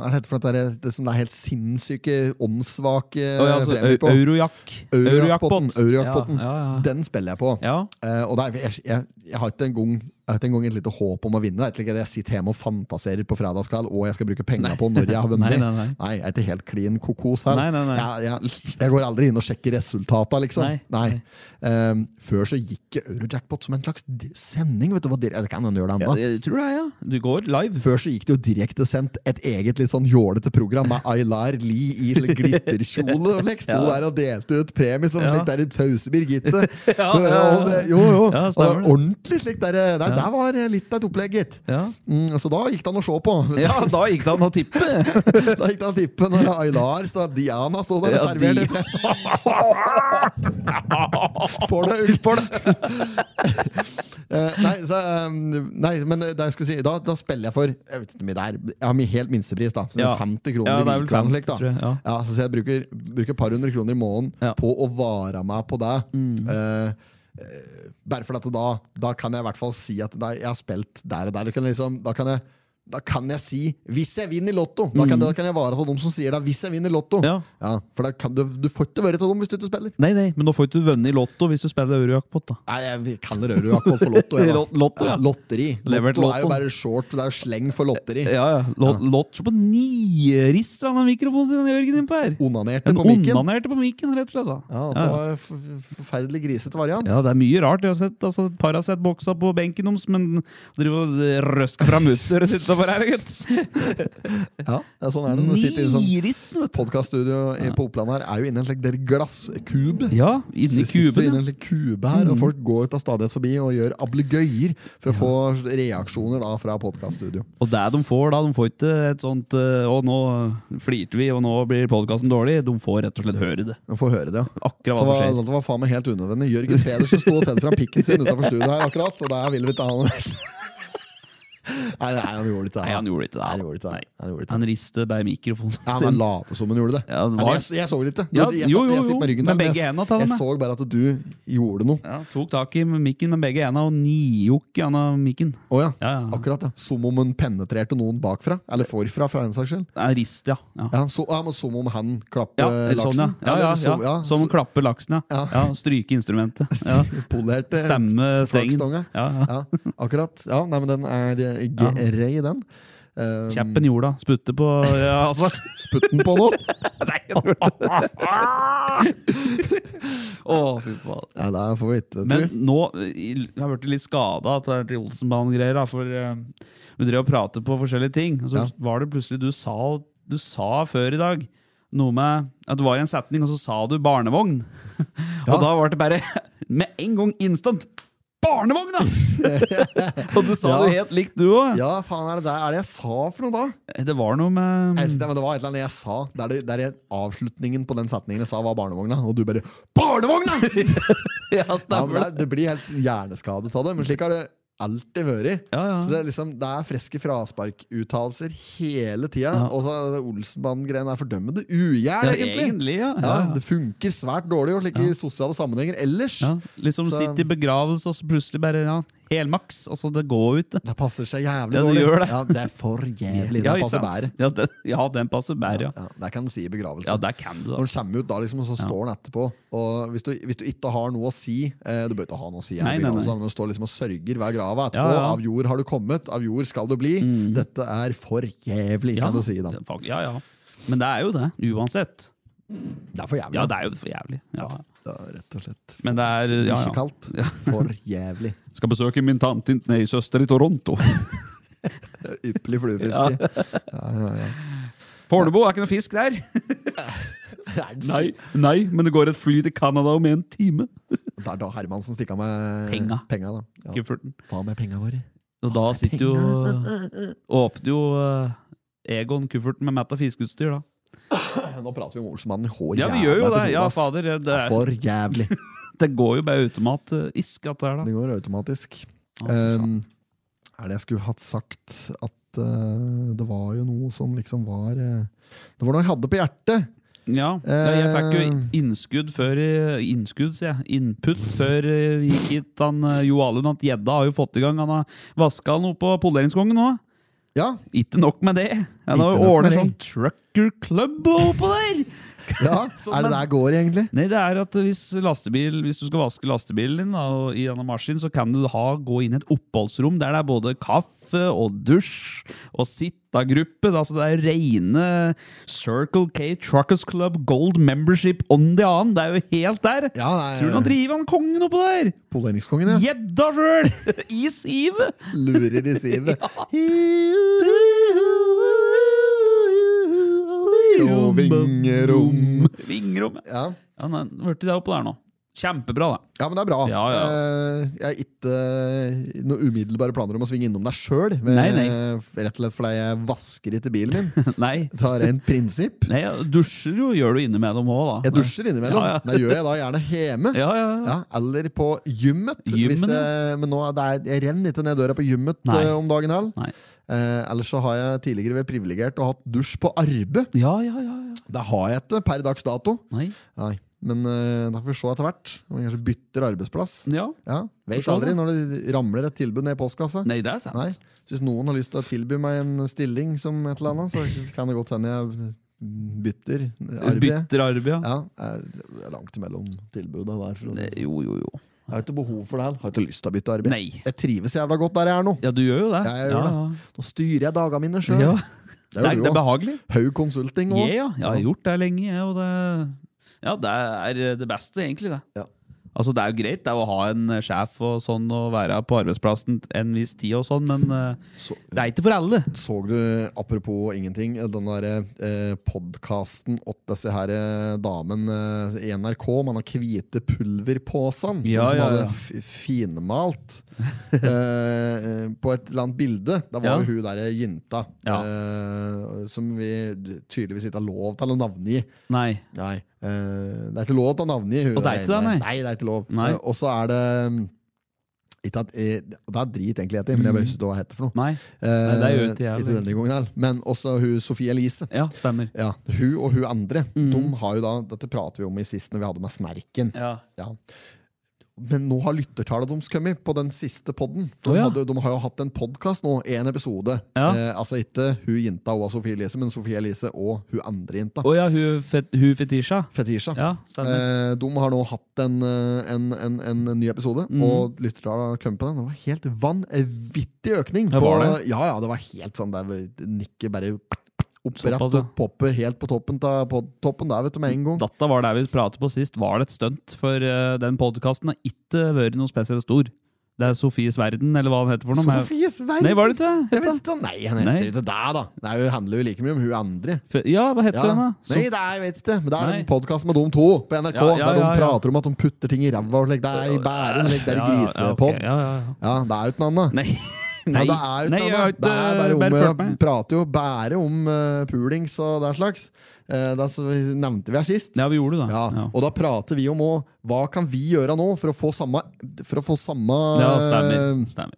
[SPEAKER 2] Hva er det for noe det, er- det som det er helt sinnssyke, åndssvake
[SPEAKER 1] Å ja, altså,
[SPEAKER 2] premier på?
[SPEAKER 1] eu- Eurojack.
[SPEAKER 2] Eurojackpotten.
[SPEAKER 1] Eurojackpot.
[SPEAKER 2] Eurojackpotten.
[SPEAKER 1] Ja, ja, ja.
[SPEAKER 2] Den spiller jeg på.
[SPEAKER 1] ja.
[SPEAKER 2] Eh, og det er, jeg, jeg, jeg har ikke engang en gang et lite håp om å vinne. Det er ikke like det jeg sitter hjemme og fantaserer på fredagskveld og jeg skal bruke penger på når jeg har vunnet.
[SPEAKER 1] Nei, nei, nei.
[SPEAKER 2] jeg er ikke helt klin kokos her.
[SPEAKER 1] Nei, nei, nei.
[SPEAKER 2] Jeg, jeg, jeg går aldri inn og sjekker resultata, liksom.
[SPEAKER 1] Nei,
[SPEAKER 2] Eh, før så gikk Eurojackpot som en slags di- sending. Vet du hva dir- det kan hende gjør det ennå.
[SPEAKER 1] ja, jeg tror det er, ja. Du går live.
[SPEAKER 2] Før så gikk det jo direktesendt et eget litt sånn jålete program med Aylar Lie i slik glitterkjole. og slik Sto
[SPEAKER 1] Ja.
[SPEAKER 2] der og delte ut premie som
[SPEAKER 1] Ja.
[SPEAKER 2] slik der i Tause Birgitte.
[SPEAKER 1] Ja,
[SPEAKER 2] Så,
[SPEAKER 1] ja,
[SPEAKER 2] og det-
[SPEAKER 1] ja.
[SPEAKER 2] Jo, jo.
[SPEAKER 1] Ja,
[SPEAKER 2] og det var
[SPEAKER 1] stemmer det.
[SPEAKER 2] ordentlig slik der. eh, Der, der var eh, litt av et opplegg, gitt.
[SPEAKER 1] Ja.
[SPEAKER 2] Mm, så da gikk det an å se på.
[SPEAKER 1] ja, da gikk det an å tippe.
[SPEAKER 2] Da gikk det an å tippe når Aylar og Diana sto der og
[SPEAKER 1] Ja,
[SPEAKER 2] serverte.
[SPEAKER 1] de-
[SPEAKER 2] pre- Får det ut. Eh, nei, så, eh, nei, men det jeg skulle si, da, da spiller jeg for Jeg vet ikke hvor mye det er Jeg har min helt minstepris, da. Så det er
[SPEAKER 1] Ja.
[SPEAKER 2] 50 kroner
[SPEAKER 1] Ja, det er
[SPEAKER 2] i
[SPEAKER 1] vel
[SPEAKER 2] uka.
[SPEAKER 1] 50,
[SPEAKER 2] slik, da.
[SPEAKER 1] tror jeg, ja.
[SPEAKER 2] Ja, så jeg bruker, bruker et par hundre kroner i måneden
[SPEAKER 1] Ja. Mm.
[SPEAKER 2] på å vare meg på det. Eh, eh, bare for at da, da kan jeg i hvert fall si at da, jeg har spilt der og der. Du Kan liksom, da, kan jeg, da kan jeg si 'hvis jeg vinner Lotto'. Da kan, da kan jeg vare på dem som sier det. 'Hvis jeg vinner Lotto'.
[SPEAKER 1] Mm. Ja.
[SPEAKER 2] for da kan du, du får ikke være til dem hvis du ikke spiller.
[SPEAKER 1] Nei, nei, men nå får du ikke vunnet i Lotto hvis du spiller Eurojackpot, da.
[SPEAKER 2] Nei, jeg kan røre jo akkurat for Lotto. Jeg, da.
[SPEAKER 1] Lot- lotto, ja.
[SPEAKER 2] Lotteri.
[SPEAKER 1] Levert
[SPEAKER 2] Lotto er jo
[SPEAKER 1] lottoen.
[SPEAKER 2] bare short. Det er jo sleng for lotteri.
[SPEAKER 1] Ja, ja. Lott lot på nierist av den mikrofonen sin, Jørgen, innpå her.
[SPEAKER 2] Onanerte
[SPEAKER 1] En
[SPEAKER 2] på mikken.
[SPEAKER 1] onanerte på mikken, rett og slett. da.
[SPEAKER 2] Ja, det
[SPEAKER 1] ja.
[SPEAKER 2] var en f- forferdelig grisete variant.
[SPEAKER 1] Ja, det er mye rart. Jeg har sett, altså, et par har sett boksa på benken deres, men driver og røsker fram utstyret sitt utenfor her, gutt.
[SPEAKER 2] Ja, det er sånn er det når du sitter i en sånn
[SPEAKER 1] Nieristen, vet du.
[SPEAKER 2] Podcaststudio i- på Oppland her er jo inne i en slik der glasskube.
[SPEAKER 1] Ja, inni
[SPEAKER 2] Så vi sitter
[SPEAKER 1] kuben.
[SPEAKER 2] inne i en slik kube her,
[SPEAKER 1] Mm.
[SPEAKER 2] og folk går ut av stadighet forbi og gjør ablegøyer for å få reaksjoner da fra podcaststudio.
[SPEAKER 1] Og det de får da, de får ikke et sånt eh, Å, nå flirte vi, og nå blir podkasten dårlig. De får rett og slett høre det.
[SPEAKER 2] Man får høre det, ja.
[SPEAKER 1] Akkurat
[SPEAKER 2] Så
[SPEAKER 1] hva
[SPEAKER 2] var,
[SPEAKER 1] som skjer.
[SPEAKER 2] dette var faen meg helt unødvendig. Jørgen Pedersen sto og tente fram pikken sin utenfor studio her akkurat, og der ville vi ikke ha noe mer. Nei, nei, han gjorde ikke det.
[SPEAKER 1] Nei, han gjorde ikke det.
[SPEAKER 2] Han gjorde ikke det.
[SPEAKER 1] Nei.
[SPEAKER 2] Han gjorde ikke det.
[SPEAKER 1] Han rister bare mikrofonen
[SPEAKER 2] Ja, men han
[SPEAKER 1] sin.
[SPEAKER 2] late som han gjorde det.
[SPEAKER 1] Ja, det
[SPEAKER 2] Nei,
[SPEAKER 1] var-
[SPEAKER 2] men jeg, jeg så det ikke.
[SPEAKER 1] Ja,
[SPEAKER 2] Jeg, jeg,
[SPEAKER 1] jo, jo,
[SPEAKER 2] jeg sitter
[SPEAKER 1] jo.
[SPEAKER 2] med ryggen
[SPEAKER 1] Med
[SPEAKER 2] til, men
[SPEAKER 1] begge
[SPEAKER 2] jeg-
[SPEAKER 1] hendene til
[SPEAKER 2] Jeg
[SPEAKER 1] den,
[SPEAKER 2] så bare at du gjorde noe.
[SPEAKER 1] Ja, tok tak i mikken med begge hendene og nijokk i anda mikken.
[SPEAKER 2] Å ja.
[SPEAKER 1] Ja, ja.
[SPEAKER 2] Akkurat, ja. Som om hun penetrerte noen bakfra. Eller forfra, for den saks skyld.
[SPEAKER 1] Ja, rist, ja. Ja,
[SPEAKER 2] Ja, så, ja, men som om han klapper
[SPEAKER 1] ja eller sånn, ja.
[SPEAKER 2] laksen.
[SPEAKER 1] Ja, ja,
[SPEAKER 2] Eller
[SPEAKER 1] ja.
[SPEAKER 2] som- ja,
[SPEAKER 1] Som
[SPEAKER 2] så-
[SPEAKER 1] å klappe laksen, ja. ja. Stryke instrumentet. Ja.
[SPEAKER 2] polerte
[SPEAKER 1] Stemme
[SPEAKER 2] s-
[SPEAKER 1] stengen.
[SPEAKER 2] flakstonga.
[SPEAKER 1] Ja, ja.
[SPEAKER 2] Ja, akkurat. Ja, nei, men den er eh, grei, den. Um,
[SPEAKER 1] Kjeppen i jorda. Sputte på Ja, altså.
[SPEAKER 2] Putten på noen.
[SPEAKER 1] Nei, jeg tror det. Å, fy faen.
[SPEAKER 2] Ja, det får vi ikke, tror
[SPEAKER 1] Men
[SPEAKER 2] jeg.
[SPEAKER 1] nå eh, jeg har jeg blitt litt skada av dette Olsenbanen-greier. da, For eh, vi drev og pratet på forskjellige ting, og så
[SPEAKER 2] Ja.
[SPEAKER 1] var det plutselig du sa, du sa før i dag noe med at du var i en setning, og så sa du 'barnevogn'.
[SPEAKER 2] Ja.
[SPEAKER 1] Og da var det bare med en gang instant 'barnevogn', da! og du sa
[SPEAKER 2] Ja.
[SPEAKER 1] det helt likt, du òg.
[SPEAKER 2] Ja, faen, er det det, er det jeg sa for noe da?
[SPEAKER 1] Det var noe med
[SPEAKER 2] Jeg synes det, men det var et eller annet jeg sa. Der, det, der jeg, avslutningen på den setningen jeg sa, var barnevogna. Og du bare 'Barnevogna!'
[SPEAKER 1] Ja,
[SPEAKER 2] Ja, men
[SPEAKER 1] stemmer
[SPEAKER 2] det,
[SPEAKER 1] det.
[SPEAKER 2] er- det blir helt hjerneskadet av det. Men slik har det alltid vært.
[SPEAKER 1] Ja, ja.
[SPEAKER 2] Så det er, liksom, det er friske frasparkuttalelser hele tida. Og så er det Olsenbanden-greien er fordømmende ugjær,
[SPEAKER 1] Ja,
[SPEAKER 2] egentlig.
[SPEAKER 1] egentlig, ja.
[SPEAKER 2] Ja, det funker svært dårlig og slik i sosiale sammenhenger ellers.
[SPEAKER 1] Ja, liksom
[SPEAKER 2] Så-
[SPEAKER 1] sitte i begravelse, og så plutselig bare ja, helmaks. Altså, det går ut, det.
[SPEAKER 2] Det passer seg jævlig
[SPEAKER 1] Ja, det
[SPEAKER 2] dårlig.
[SPEAKER 1] gjør det.
[SPEAKER 2] Ja, det er for jævlig.
[SPEAKER 1] Ja,
[SPEAKER 2] det
[SPEAKER 1] ikke
[SPEAKER 2] passer
[SPEAKER 1] sant?
[SPEAKER 2] bedre.
[SPEAKER 1] Ja, den, ja, den passer bedre, ja.
[SPEAKER 2] Ja, det kan du si i begravelse.
[SPEAKER 1] Ja, der kan du, da.
[SPEAKER 2] Når den kommer ut, da liksom, og så står den etterpå. Og hvis du, hvis du ikke har noe å si eh, Du bør ikke ha noe å si, her i
[SPEAKER 1] Nei, nei,
[SPEAKER 2] begravelsen,
[SPEAKER 1] nei.
[SPEAKER 2] men når du står liksom og sørger ved grava etterpå.
[SPEAKER 1] Ja, ja.
[SPEAKER 2] Av jord har du kommet, av jord skal du bli. Dette er for jævlig,
[SPEAKER 1] Ja,
[SPEAKER 2] kan du si. da
[SPEAKER 1] det er fag- ja, ja. Men det er jo det, uansett.
[SPEAKER 2] Det er for jævlig.
[SPEAKER 1] Ja, det er jo for jævlig. Ja.
[SPEAKER 2] Det er rett og slett
[SPEAKER 1] Men det er ja,
[SPEAKER 2] ikke
[SPEAKER 1] ja.
[SPEAKER 2] kaldt. For jævlig.
[SPEAKER 1] Skal besøke min tante, nei, søster i Toronto.
[SPEAKER 2] Det er Ypperlig fluefiske.
[SPEAKER 1] Fornebu, er ikke noe fisk der?
[SPEAKER 2] Er det
[SPEAKER 1] nei, men det går et fly til Canada om en time.
[SPEAKER 2] Det er da Hermansen stikk av med
[SPEAKER 1] Penga.
[SPEAKER 2] penga da. Ja.
[SPEAKER 1] Kufferten.
[SPEAKER 2] Ta med penga våre.
[SPEAKER 1] Og da sitter jo Åpner jo eh, Egon kufferten med mett av fiskeutstyr, da.
[SPEAKER 2] Nå prater vi om Olsenmannen i hår.
[SPEAKER 1] Ja, vi gjør jo det! Ja, fader. Det, det, er,
[SPEAKER 2] For jævlig.
[SPEAKER 1] det går jo bare automat eh, isk at det er, da.
[SPEAKER 2] Det går automatisk.
[SPEAKER 1] Å, fy faen.
[SPEAKER 2] Um, er det jeg skulle hatt sagt at eh, det var jo noe som liksom var eh, Det var noe jeg hadde på hjertet!
[SPEAKER 1] Ja, ja, jeg
[SPEAKER 2] Eh.
[SPEAKER 1] fikk jo innskudd før i- Innskudd, sier jeg. Input før eh, vi gikk hit. Han, eh, Jo Alun at gjedda har jo fått i gang. Han har vaska noe på poleringskongen nå.
[SPEAKER 2] Ja,
[SPEAKER 1] Ikke nok med det. Han har
[SPEAKER 2] Ikke nok
[SPEAKER 1] jo
[SPEAKER 2] med
[SPEAKER 1] ordnet
[SPEAKER 2] det.
[SPEAKER 1] sånn trucker club oppå der!
[SPEAKER 2] ja.
[SPEAKER 1] Som
[SPEAKER 2] Er det
[SPEAKER 1] en-
[SPEAKER 2] der går, egentlig?
[SPEAKER 1] Nei, det er at hvis, lastebil, hvis du skal vaske lastebilen din da, og i denne maskinen, så kan du ha, gå inn i et oppholdsrom der det er både kaffe og dusj og sittagruppe. Altså det er rene Circle K Truckers Club Gold Membership on the on. Det er jo helt der!
[SPEAKER 2] Ja, nei,
[SPEAKER 1] Tror du han driver han kongen oppå der?
[SPEAKER 2] Poleringskongen, ja.
[SPEAKER 1] Gjedda sjøl! I sivet!
[SPEAKER 2] Lurer i sivet. Og vingerom.
[SPEAKER 1] Vingerommet.
[SPEAKER 2] Ja.
[SPEAKER 1] Ja, nei, hørte det oppå der nå. Kjempebra, da.
[SPEAKER 2] ja, men det er bra.
[SPEAKER 1] Ja, ja.
[SPEAKER 2] Eh, Jeg har ikke eh, noen umiddelbare planer om å svinge innom deg sjøl.
[SPEAKER 1] Nei, nei.
[SPEAKER 2] Rett og slett fordi jeg vasker ikke bilen min.
[SPEAKER 1] Nei.
[SPEAKER 2] Det er rent prinsipp.
[SPEAKER 1] Nei, dusjer jo, gjør du innimellom òg, da.
[SPEAKER 2] Jeg dusjer innimellom.
[SPEAKER 1] Ja, ja.
[SPEAKER 2] Det gjør jeg da gjerne hjemme.
[SPEAKER 1] Ja, ja, ja.
[SPEAKER 2] Ja, eller på gymmet.
[SPEAKER 1] Gymmen,
[SPEAKER 2] hvis jeg, men nå er det, jeg renner ikke ned døra på gymmet
[SPEAKER 1] Nei.
[SPEAKER 2] eh, om dagen. Her.
[SPEAKER 1] Nei.
[SPEAKER 2] Eh, ellers så har jeg tidligere vært privilegert og hatt dusj på arbeid.
[SPEAKER 1] Ja, ja, ja. ja.
[SPEAKER 2] Det har jeg ikke per dags dato.
[SPEAKER 1] Nei.
[SPEAKER 2] Nei, Men eh, da får vi se etter hvert om jeg kanskje bytter arbeidsplass.
[SPEAKER 1] Ja.
[SPEAKER 2] Ja, Vet
[SPEAKER 1] Får se
[SPEAKER 2] aldri
[SPEAKER 1] da.
[SPEAKER 2] når det ramler et tilbud ned i postkassa.
[SPEAKER 1] Nei, det er sant.
[SPEAKER 2] Nei. Så Hvis noen har lyst til å tilby meg en stilling som et eller annet, så kan det godt hende jeg bytter arbeid.
[SPEAKER 1] Bytter arbeid, ja.
[SPEAKER 2] Ja, eh, det er langt imellom tilbudene der. For å si.
[SPEAKER 1] Nei,
[SPEAKER 2] sånn.
[SPEAKER 1] Jo, jo, jo.
[SPEAKER 2] Jeg har ikke behov for det her. Har ikke lyst til å bytte arbeid.
[SPEAKER 1] Nei.
[SPEAKER 2] Jeg trives jævla godt der jeg er nå.
[SPEAKER 1] Ja, du gjør jo det.
[SPEAKER 2] Ja, jeg gjør
[SPEAKER 1] ja,
[SPEAKER 2] Nå styrer jeg dagene mine
[SPEAKER 1] ja.
[SPEAKER 2] sjøl.
[SPEAKER 1] Ja.
[SPEAKER 2] Det
[SPEAKER 1] Det,
[SPEAKER 2] er
[SPEAKER 1] er,
[SPEAKER 2] jo
[SPEAKER 1] det
[SPEAKER 2] du
[SPEAKER 1] er
[SPEAKER 2] òg.
[SPEAKER 1] behagelig.
[SPEAKER 2] Haug Consulting
[SPEAKER 1] Ja,
[SPEAKER 2] òg.
[SPEAKER 1] ja. Jeg har
[SPEAKER 2] Ja.
[SPEAKER 1] gjort det lenge, jeg, og det Ja, det er eh, det beste, egentlig, det.
[SPEAKER 2] Ja.
[SPEAKER 1] Altså, det er jo greit det er å ha en eh, sjef og sånn, og være på arbeidsplassen en viss tid og sånn, men eh,
[SPEAKER 2] Så-
[SPEAKER 1] det er ikke for alle.
[SPEAKER 2] Så du, apropos ingenting, den der eh, podkasten åt disse her eh, damen eh, i NRK med den hvite pulverposen
[SPEAKER 1] Ja,
[SPEAKER 2] som
[SPEAKER 1] ja,
[SPEAKER 2] hadde
[SPEAKER 1] ja.
[SPEAKER 2] f- finmalt eh, på et eller annet bilde. Da var
[SPEAKER 1] Ja.
[SPEAKER 2] jo hun derre jenta
[SPEAKER 1] Ja.
[SPEAKER 2] eh, som vi tydeligvis ikke har lov til å navngi.
[SPEAKER 1] Nei.
[SPEAKER 2] Nei. eh, det er ikke lov til å navngi hun.
[SPEAKER 1] Og det er ikke det, nei.
[SPEAKER 2] nei, det er ikke lov.
[SPEAKER 1] Nei.
[SPEAKER 2] Eh, og så er det mm, ikke at, eh, og Det er drit, egentlig, heter, men jeg
[SPEAKER 1] Mm.
[SPEAKER 2] bare husker hva det heter for noe.
[SPEAKER 1] Nei.
[SPEAKER 2] Eh,
[SPEAKER 1] det gjør ikke jeg
[SPEAKER 2] ikke
[SPEAKER 1] heller.
[SPEAKER 2] denne gangen her. Men også hun Sofie Elise.
[SPEAKER 1] Ja, stemmer.
[SPEAKER 2] Ja, hun og hun andre.
[SPEAKER 1] Mm.
[SPEAKER 2] De har jo da, Dette prater vi om i sist når vi hadde med Snerken.
[SPEAKER 1] Ja.
[SPEAKER 2] Ja. Men nå har lyttertallet deres kommet på den siste podden. For
[SPEAKER 1] Å, ja.
[SPEAKER 2] de, hadde, de har jo hatt en podkast nå, én episode.
[SPEAKER 1] Ja.
[SPEAKER 2] Eh, altså ikke hun jenta og Sofie Elise, men Sofie Elise og hun andre jenta.
[SPEAKER 1] Å ja, hun, fet, hun fetisja.
[SPEAKER 2] Fetisha.
[SPEAKER 1] Ja, stemmer.
[SPEAKER 2] Eh, de har nå hatt en, eh, en, en, en ny episode,
[SPEAKER 1] Mhm.
[SPEAKER 2] og lyttertallet har kommet på den. Det var helt vanvittig økning.
[SPEAKER 1] Ja,
[SPEAKER 2] På,
[SPEAKER 1] var
[SPEAKER 2] ja, ja, det var helt sånn der det nikket bare opprett
[SPEAKER 1] Såpass, ja.
[SPEAKER 2] og popper helt på toppen, ta, på toppen der, vet du, med en gang.
[SPEAKER 1] Data var det vi pratet på sist. Var det et stunt? For eh, den podkasten har ikke vært noe spesielt stor. Det er Sofies verden, eller hva den heter for noe. men-
[SPEAKER 2] Sofies verden!
[SPEAKER 1] Nei, var det ikke det?
[SPEAKER 2] Jeg vet
[SPEAKER 1] Hette?
[SPEAKER 2] ikke, nei, han heter
[SPEAKER 1] Nei.
[SPEAKER 2] jo ikke det, da. Det er jo, handler jo like mye om hun andre.
[SPEAKER 1] F- Ja, hva heter
[SPEAKER 2] Ja.
[SPEAKER 1] den, da?
[SPEAKER 2] Nei,
[SPEAKER 1] Sof-
[SPEAKER 2] det er, jeg vet ikke. Men det er
[SPEAKER 1] Nei.
[SPEAKER 2] en podkast med de to på NRK,
[SPEAKER 1] Ja, ja,
[SPEAKER 2] der de
[SPEAKER 1] ja, ja.
[SPEAKER 2] prater om at de putter ting i ræva og slik. Det er i bæren, slik. Det er i
[SPEAKER 1] Ja, ja, ja, ok.
[SPEAKER 2] grisepod.
[SPEAKER 1] Ja, ja, ja.
[SPEAKER 2] Ja, det er jo ikke noe annet.
[SPEAKER 1] Nei,
[SPEAKER 2] Nei,
[SPEAKER 1] nei,
[SPEAKER 2] det er jo
[SPEAKER 1] nei,
[SPEAKER 2] ikke
[SPEAKER 1] jeg
[SPEAKER 2] noe
[SPEAKER 1] har eh,
[SPEAKER 2] annet. Det er bare om,
[SPEAKER 1] bare følt
[SPEAKER 2] vi
[SPEAKER 1] meg.
[SPEAKER 2] prater jo bare om eh, pulings og den slags. Eh, det er så, nevnte vi her sist.
[SPEAKER 1] Ja, vi gjorde det, da.
[SPEAKER 2] Ja,
[SPEAKER 1] Ja.
[SPEAKER 2] og da prater vi om òg hva kan vi gjøre nå for å få samme For å få samme,
[SPEAKER 1] Ja, stemmer. stemmer.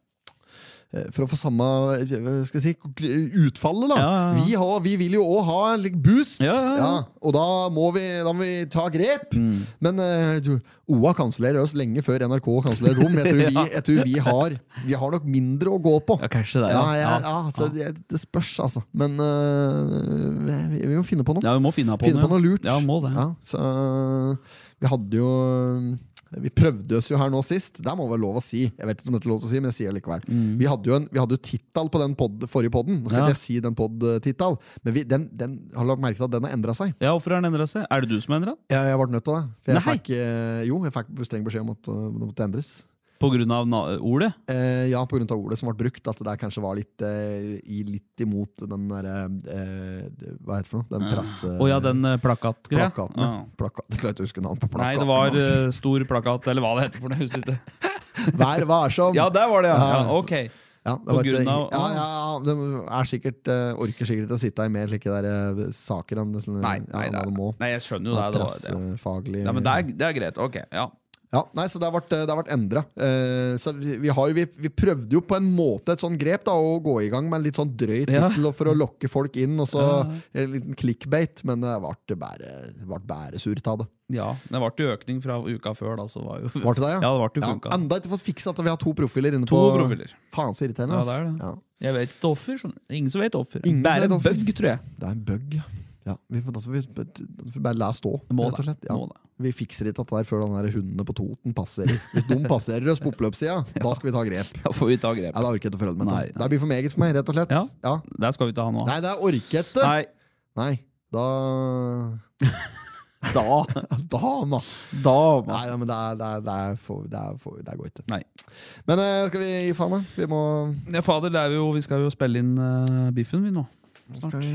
[SPEAKER 2] eh, for å få samme eh, hva skal jeg si, utfallet, da.
[SPEAKER 1] Ja, ja, ja.
[SPEAKER 2] Vi, har, vi vil jo òg ha en lik boost,
[SPEAKER 1] Ja, ja, Mm. ja.
[SPEAKER 2] og da må, vi, da må vi ta grep. Men eh, du, OA kansellerer oss lenge før NRK kansellerer dem. Jeg tror, vi, jeg tror vi, har, vi har nok mindre å gå på.
[SPEAKER 1] Ja, kanskje det.
[SPEAKER 2] Ja,
[SPEAKER 1] Ja,
[SPEAKER 2] ja, ja, altså,
[SPEAKER 1] ja.
[SPEAKER 2] Det, det spørs, altså. Men øh, vi, vi må finne på noe.
[SPEAKER 1] Ja, vi må finne på,
[SPEAKER 2] finne på noe lurt.
[SPEAKER 1] Ja, må det.
[SPEAKER 2] Ja, så, øh, vi hadde jo øh, Vi prøvde oss jo her nå sist. Det må være lov å si. Jeg vet ikke om dette er lov til å si, men jeg sier det likevel.
[SPEAKER 1] Mm.
[SPEAKER 2] Vi hadde jo en vi hadde jo tittel på den podd, forrige podden. Nå skal
[SPEAKER 1] Ja.
[SPEAKER 2] ikke jeg si den podd-tittel, men vi, den, den har lagt merke til at den har endra seg.
[SPEAKER 1] Ja, Hvorfor har den endra seg? Er det du som har endra den?
[SPEAKER 2] Jeg, jeg ble nødt til det. For jeg
[SPEAKER 1] Nei.
[SPEAKER 2] fikk, øh, jo, jeg fikk streng beskjed om at øh, det måtte endres.
[SPEAKER 1] På grunn av na ordet?
[SPEAKER 2] Eh, ja, pga. ordet som ble brukt, at det der kanskje var litt, eh, i, litt imot den derre eh, det- Hva heter det for noe? Den presse...
[SPEAKER 1] Å ja, den eh, plakatgreia?
[SPEAKER 2] Plakaten, ja.
[SPEAKER 1] Ja.
[SPEAKER 2] Plakat. Jeg klarer ikke å huske navnet på plakaten.
[SPEAKER 1] Nei, det var eh, stor plakat, eller hva det heter for noe. jeg husker ikke.
[SPEAKER 2] Vær varsom!
[SPEAKER 1] Ja, der var det, ja.
[SPEAKER 2] Ja.
[SPEAKER 1] ja ok.
[SPEAKER 2] Ja, det
[SPEAKER 1] På
[SPEAKER 2] var et-
[SPEAKER 1] grunn av-
[SPEAKER 2] ja, ja, ja, de er sikkert, eh, orker sikkert å sitte her med slike der, eh, saker. enn det som-
[SPEAKER 1] Nei,
[SPEAKER 2] ja,
[SPEAKER 1] nei, det
[SPEAKER 2] hva
[SPEAKER 1] er-
[SPEAKER 2] de må.
[SPEAKER 1] nei, jeg skjønner jo det. det, var, det.
[SPEAKER 2] Pressefaglig
[SPEAKER 1] Ja, men det er, det er greit. Ok, ja.
[SPEAKER 2] Ja, nei, så det har vært, det har vært endra. så vi, vi, har jo, vi, vi prøvde jo på en måte et sånn grep, da, å gå i gang med en litt sånn drøy
[SPEAKER 1] Ja.
[SPEAKER 2] tittel og for å lokke folk inn, og så en liten clickbait, men det ble bare, ble bare surt av det.
[SPEAKER 1] ja. Det ble jo økning fra uka før, da. Så var jo...
[SPEAKER 2] Var det det, ja?
[SPEAKER 1] Ja, det ble jo funka.
[SPEAKER 2] Enda ikke fått fiksa at vi har to profiler inne
[SPEAKER 1] To
[SPEAKER 2] på
[SPEAKER 1] profiler.
[SPEAKER 2] Faen så irriterende.
[SPEAKER 1] Ja,
[SPEAKER 2] ass.
[SPEAKER 1] det er det.
[SPEAKER 2] Ja.
[SPEAKER 1] Jeg vet ikke offer. skjønner du. Ingen som vet offer.
[SPEAKER 2] Ingen som
[SPEAKER 1] Bare
[SPEAKER 2] vet
[SPEAKER 1] en
[SPEAKER 2] offer.
[SPEAKER 1] bug, tror jeg.
[SPEAKER 2] Det er en bug. Ja, vi får, altså, vi, vi får bare la stå,
[SPEAKER 1] Må
[SPEAKER 2] rett og
[SPEAKER 1] det,
[SPEAKER 2] slett. Ja.
[SPEAKER 1] må det.
[SPEAKER 2] Vi fikser ikke dette her før den her hundene på Toten passerer. Hvis de passerer oss på oppløpssida, da skal vi ta grep.
[SPEAKER 1] Da får vi ta
[SPEAKER 2] Nei,
[SPEAKER 1] grep.
[SPEAKER 2] da orker jeg ikke å forholde meg
[SPEAKER 1] Nei,
[SPEAKER 2] til det. Det blir for meget for meg, rett og slett.
[SPEAKER 1] Ja. Der skal vi ikke ha noe av.
[SPEAKER 2] Nei, det er orkete! Nei.
[SPEAKER 1] Nei,
[SPEAKER 2] Nei, da
[SPEAKER 1] da
[SPEAKER 2] Da, mann!
[SPEAKER 1] Da
[SPEAKER 2] Nei, nei, men det er, det, er, det, er for, det, er for, det går ikke.
[SPEAKER 1] Nei.
[SPEAKER 2] Men eh, skal vi gi faen, da? Vi må
[SPEAKER 1] Ja, fader, det er jo, vi skal jo spille inn eh, biffen, vi nå.
[SPEAKER 2] Skal vi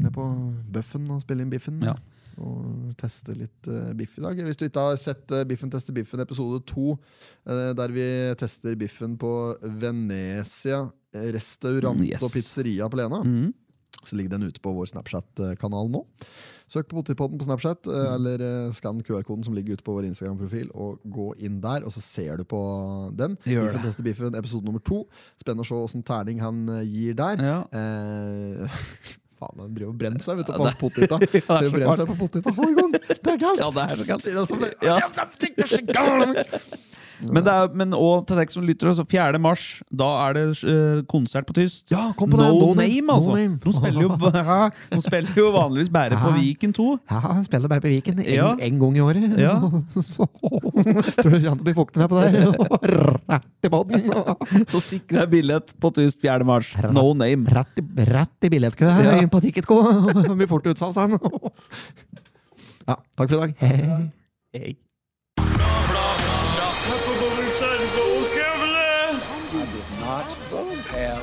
[SPEAKER 2] ned på Bøffen og spille inn Biffen?
[SPEAKER 1] Ja.
[SPEAKER 2] Og teste litt eh, biff i dag. Hvis du ikke har sett eh, Biffen tester biffen episode to, eh, der vi tester biffen på Venezia eh, restaurant
[SPEAKER 1] Mm, yes.
[SPEAKER 2] og pizzeria på Lena,
[SPEAKER 1] Mhm.
[SPEAKER 2] så ligger den ute på vår Snapchat-kanal nå. Søk på Potipodden på Snapchat, eh,
[SPEAKER 1] Mm.
[SPEAKER 2] eller eh, skann QR-koden som ligger ute på vår Instagram-profil, og gå inn der, og så ser du på den.
[SPEAKER 1] Gjør
[SPEAKER 2] Biffen
[SPEAKER 1] det.
[SPEAKER 2] tester biffen, episode nummer to. Spennende å se åssen terning han eh, gir der.
[SPEAKER 1] Ja.
[SPEAKER 2] Eh, faen, han driver og brenner seg, vet du,
[SPEAKER 1] Ja,
[SPEAKER 2] på
[SPEAKER 1] det-
[SPEAKER 2] potita.
[SPEAKER 1] det er
[SPEAKER 2] Driver og
[SPEAKER 1] så
[SPEAKER 2] brenner seg på potita hver gang. Det er galt!
[SPEAKER 1] Ja, det er så galt.
[SPEAKER 2] Sier han som det-
[SPEAKER 1] Ja. Men, det er, men og til deg som lytter, altså 4. mars, da er det eh, konsert på tyst.
[SPEAKER 2] Ja, kom på det.
[SPEAKER 1] No,
[SPEAKER 2] No name.
[SPEAKER 1] name, altså.
[SPEAKER 2] No name.
[SPEAKER 1] De, spiller jo, ja, de spiller jo vanligvis bare på
[SPEAKER 2] Ja.
[SPEAKER 1] Viken 2.
[SPEAKER 2] Ja, han spiller bare på Viken en,
[SPEAKER 1] Ja.
[SPEAKER 2] en gang i året.
[SPEAKER 1] Ja.
[SPEAKER 2] Så står du kjent å bli våkna på der. Rett i båten.
[SPEAKER 1] Så sikrer jeg billett på tyst 4. mars. No name.
[SPEAKER 2] Rett, i- rett i billettkø her,
[SPEAKER 1] Ja.
[SPEAKER 2] inn på Ticketco. Blir fort utsalg, sa han. Ja, takk for i dag.
[SPEAKER 1] Hey.
[SPEAKER 3] I did not have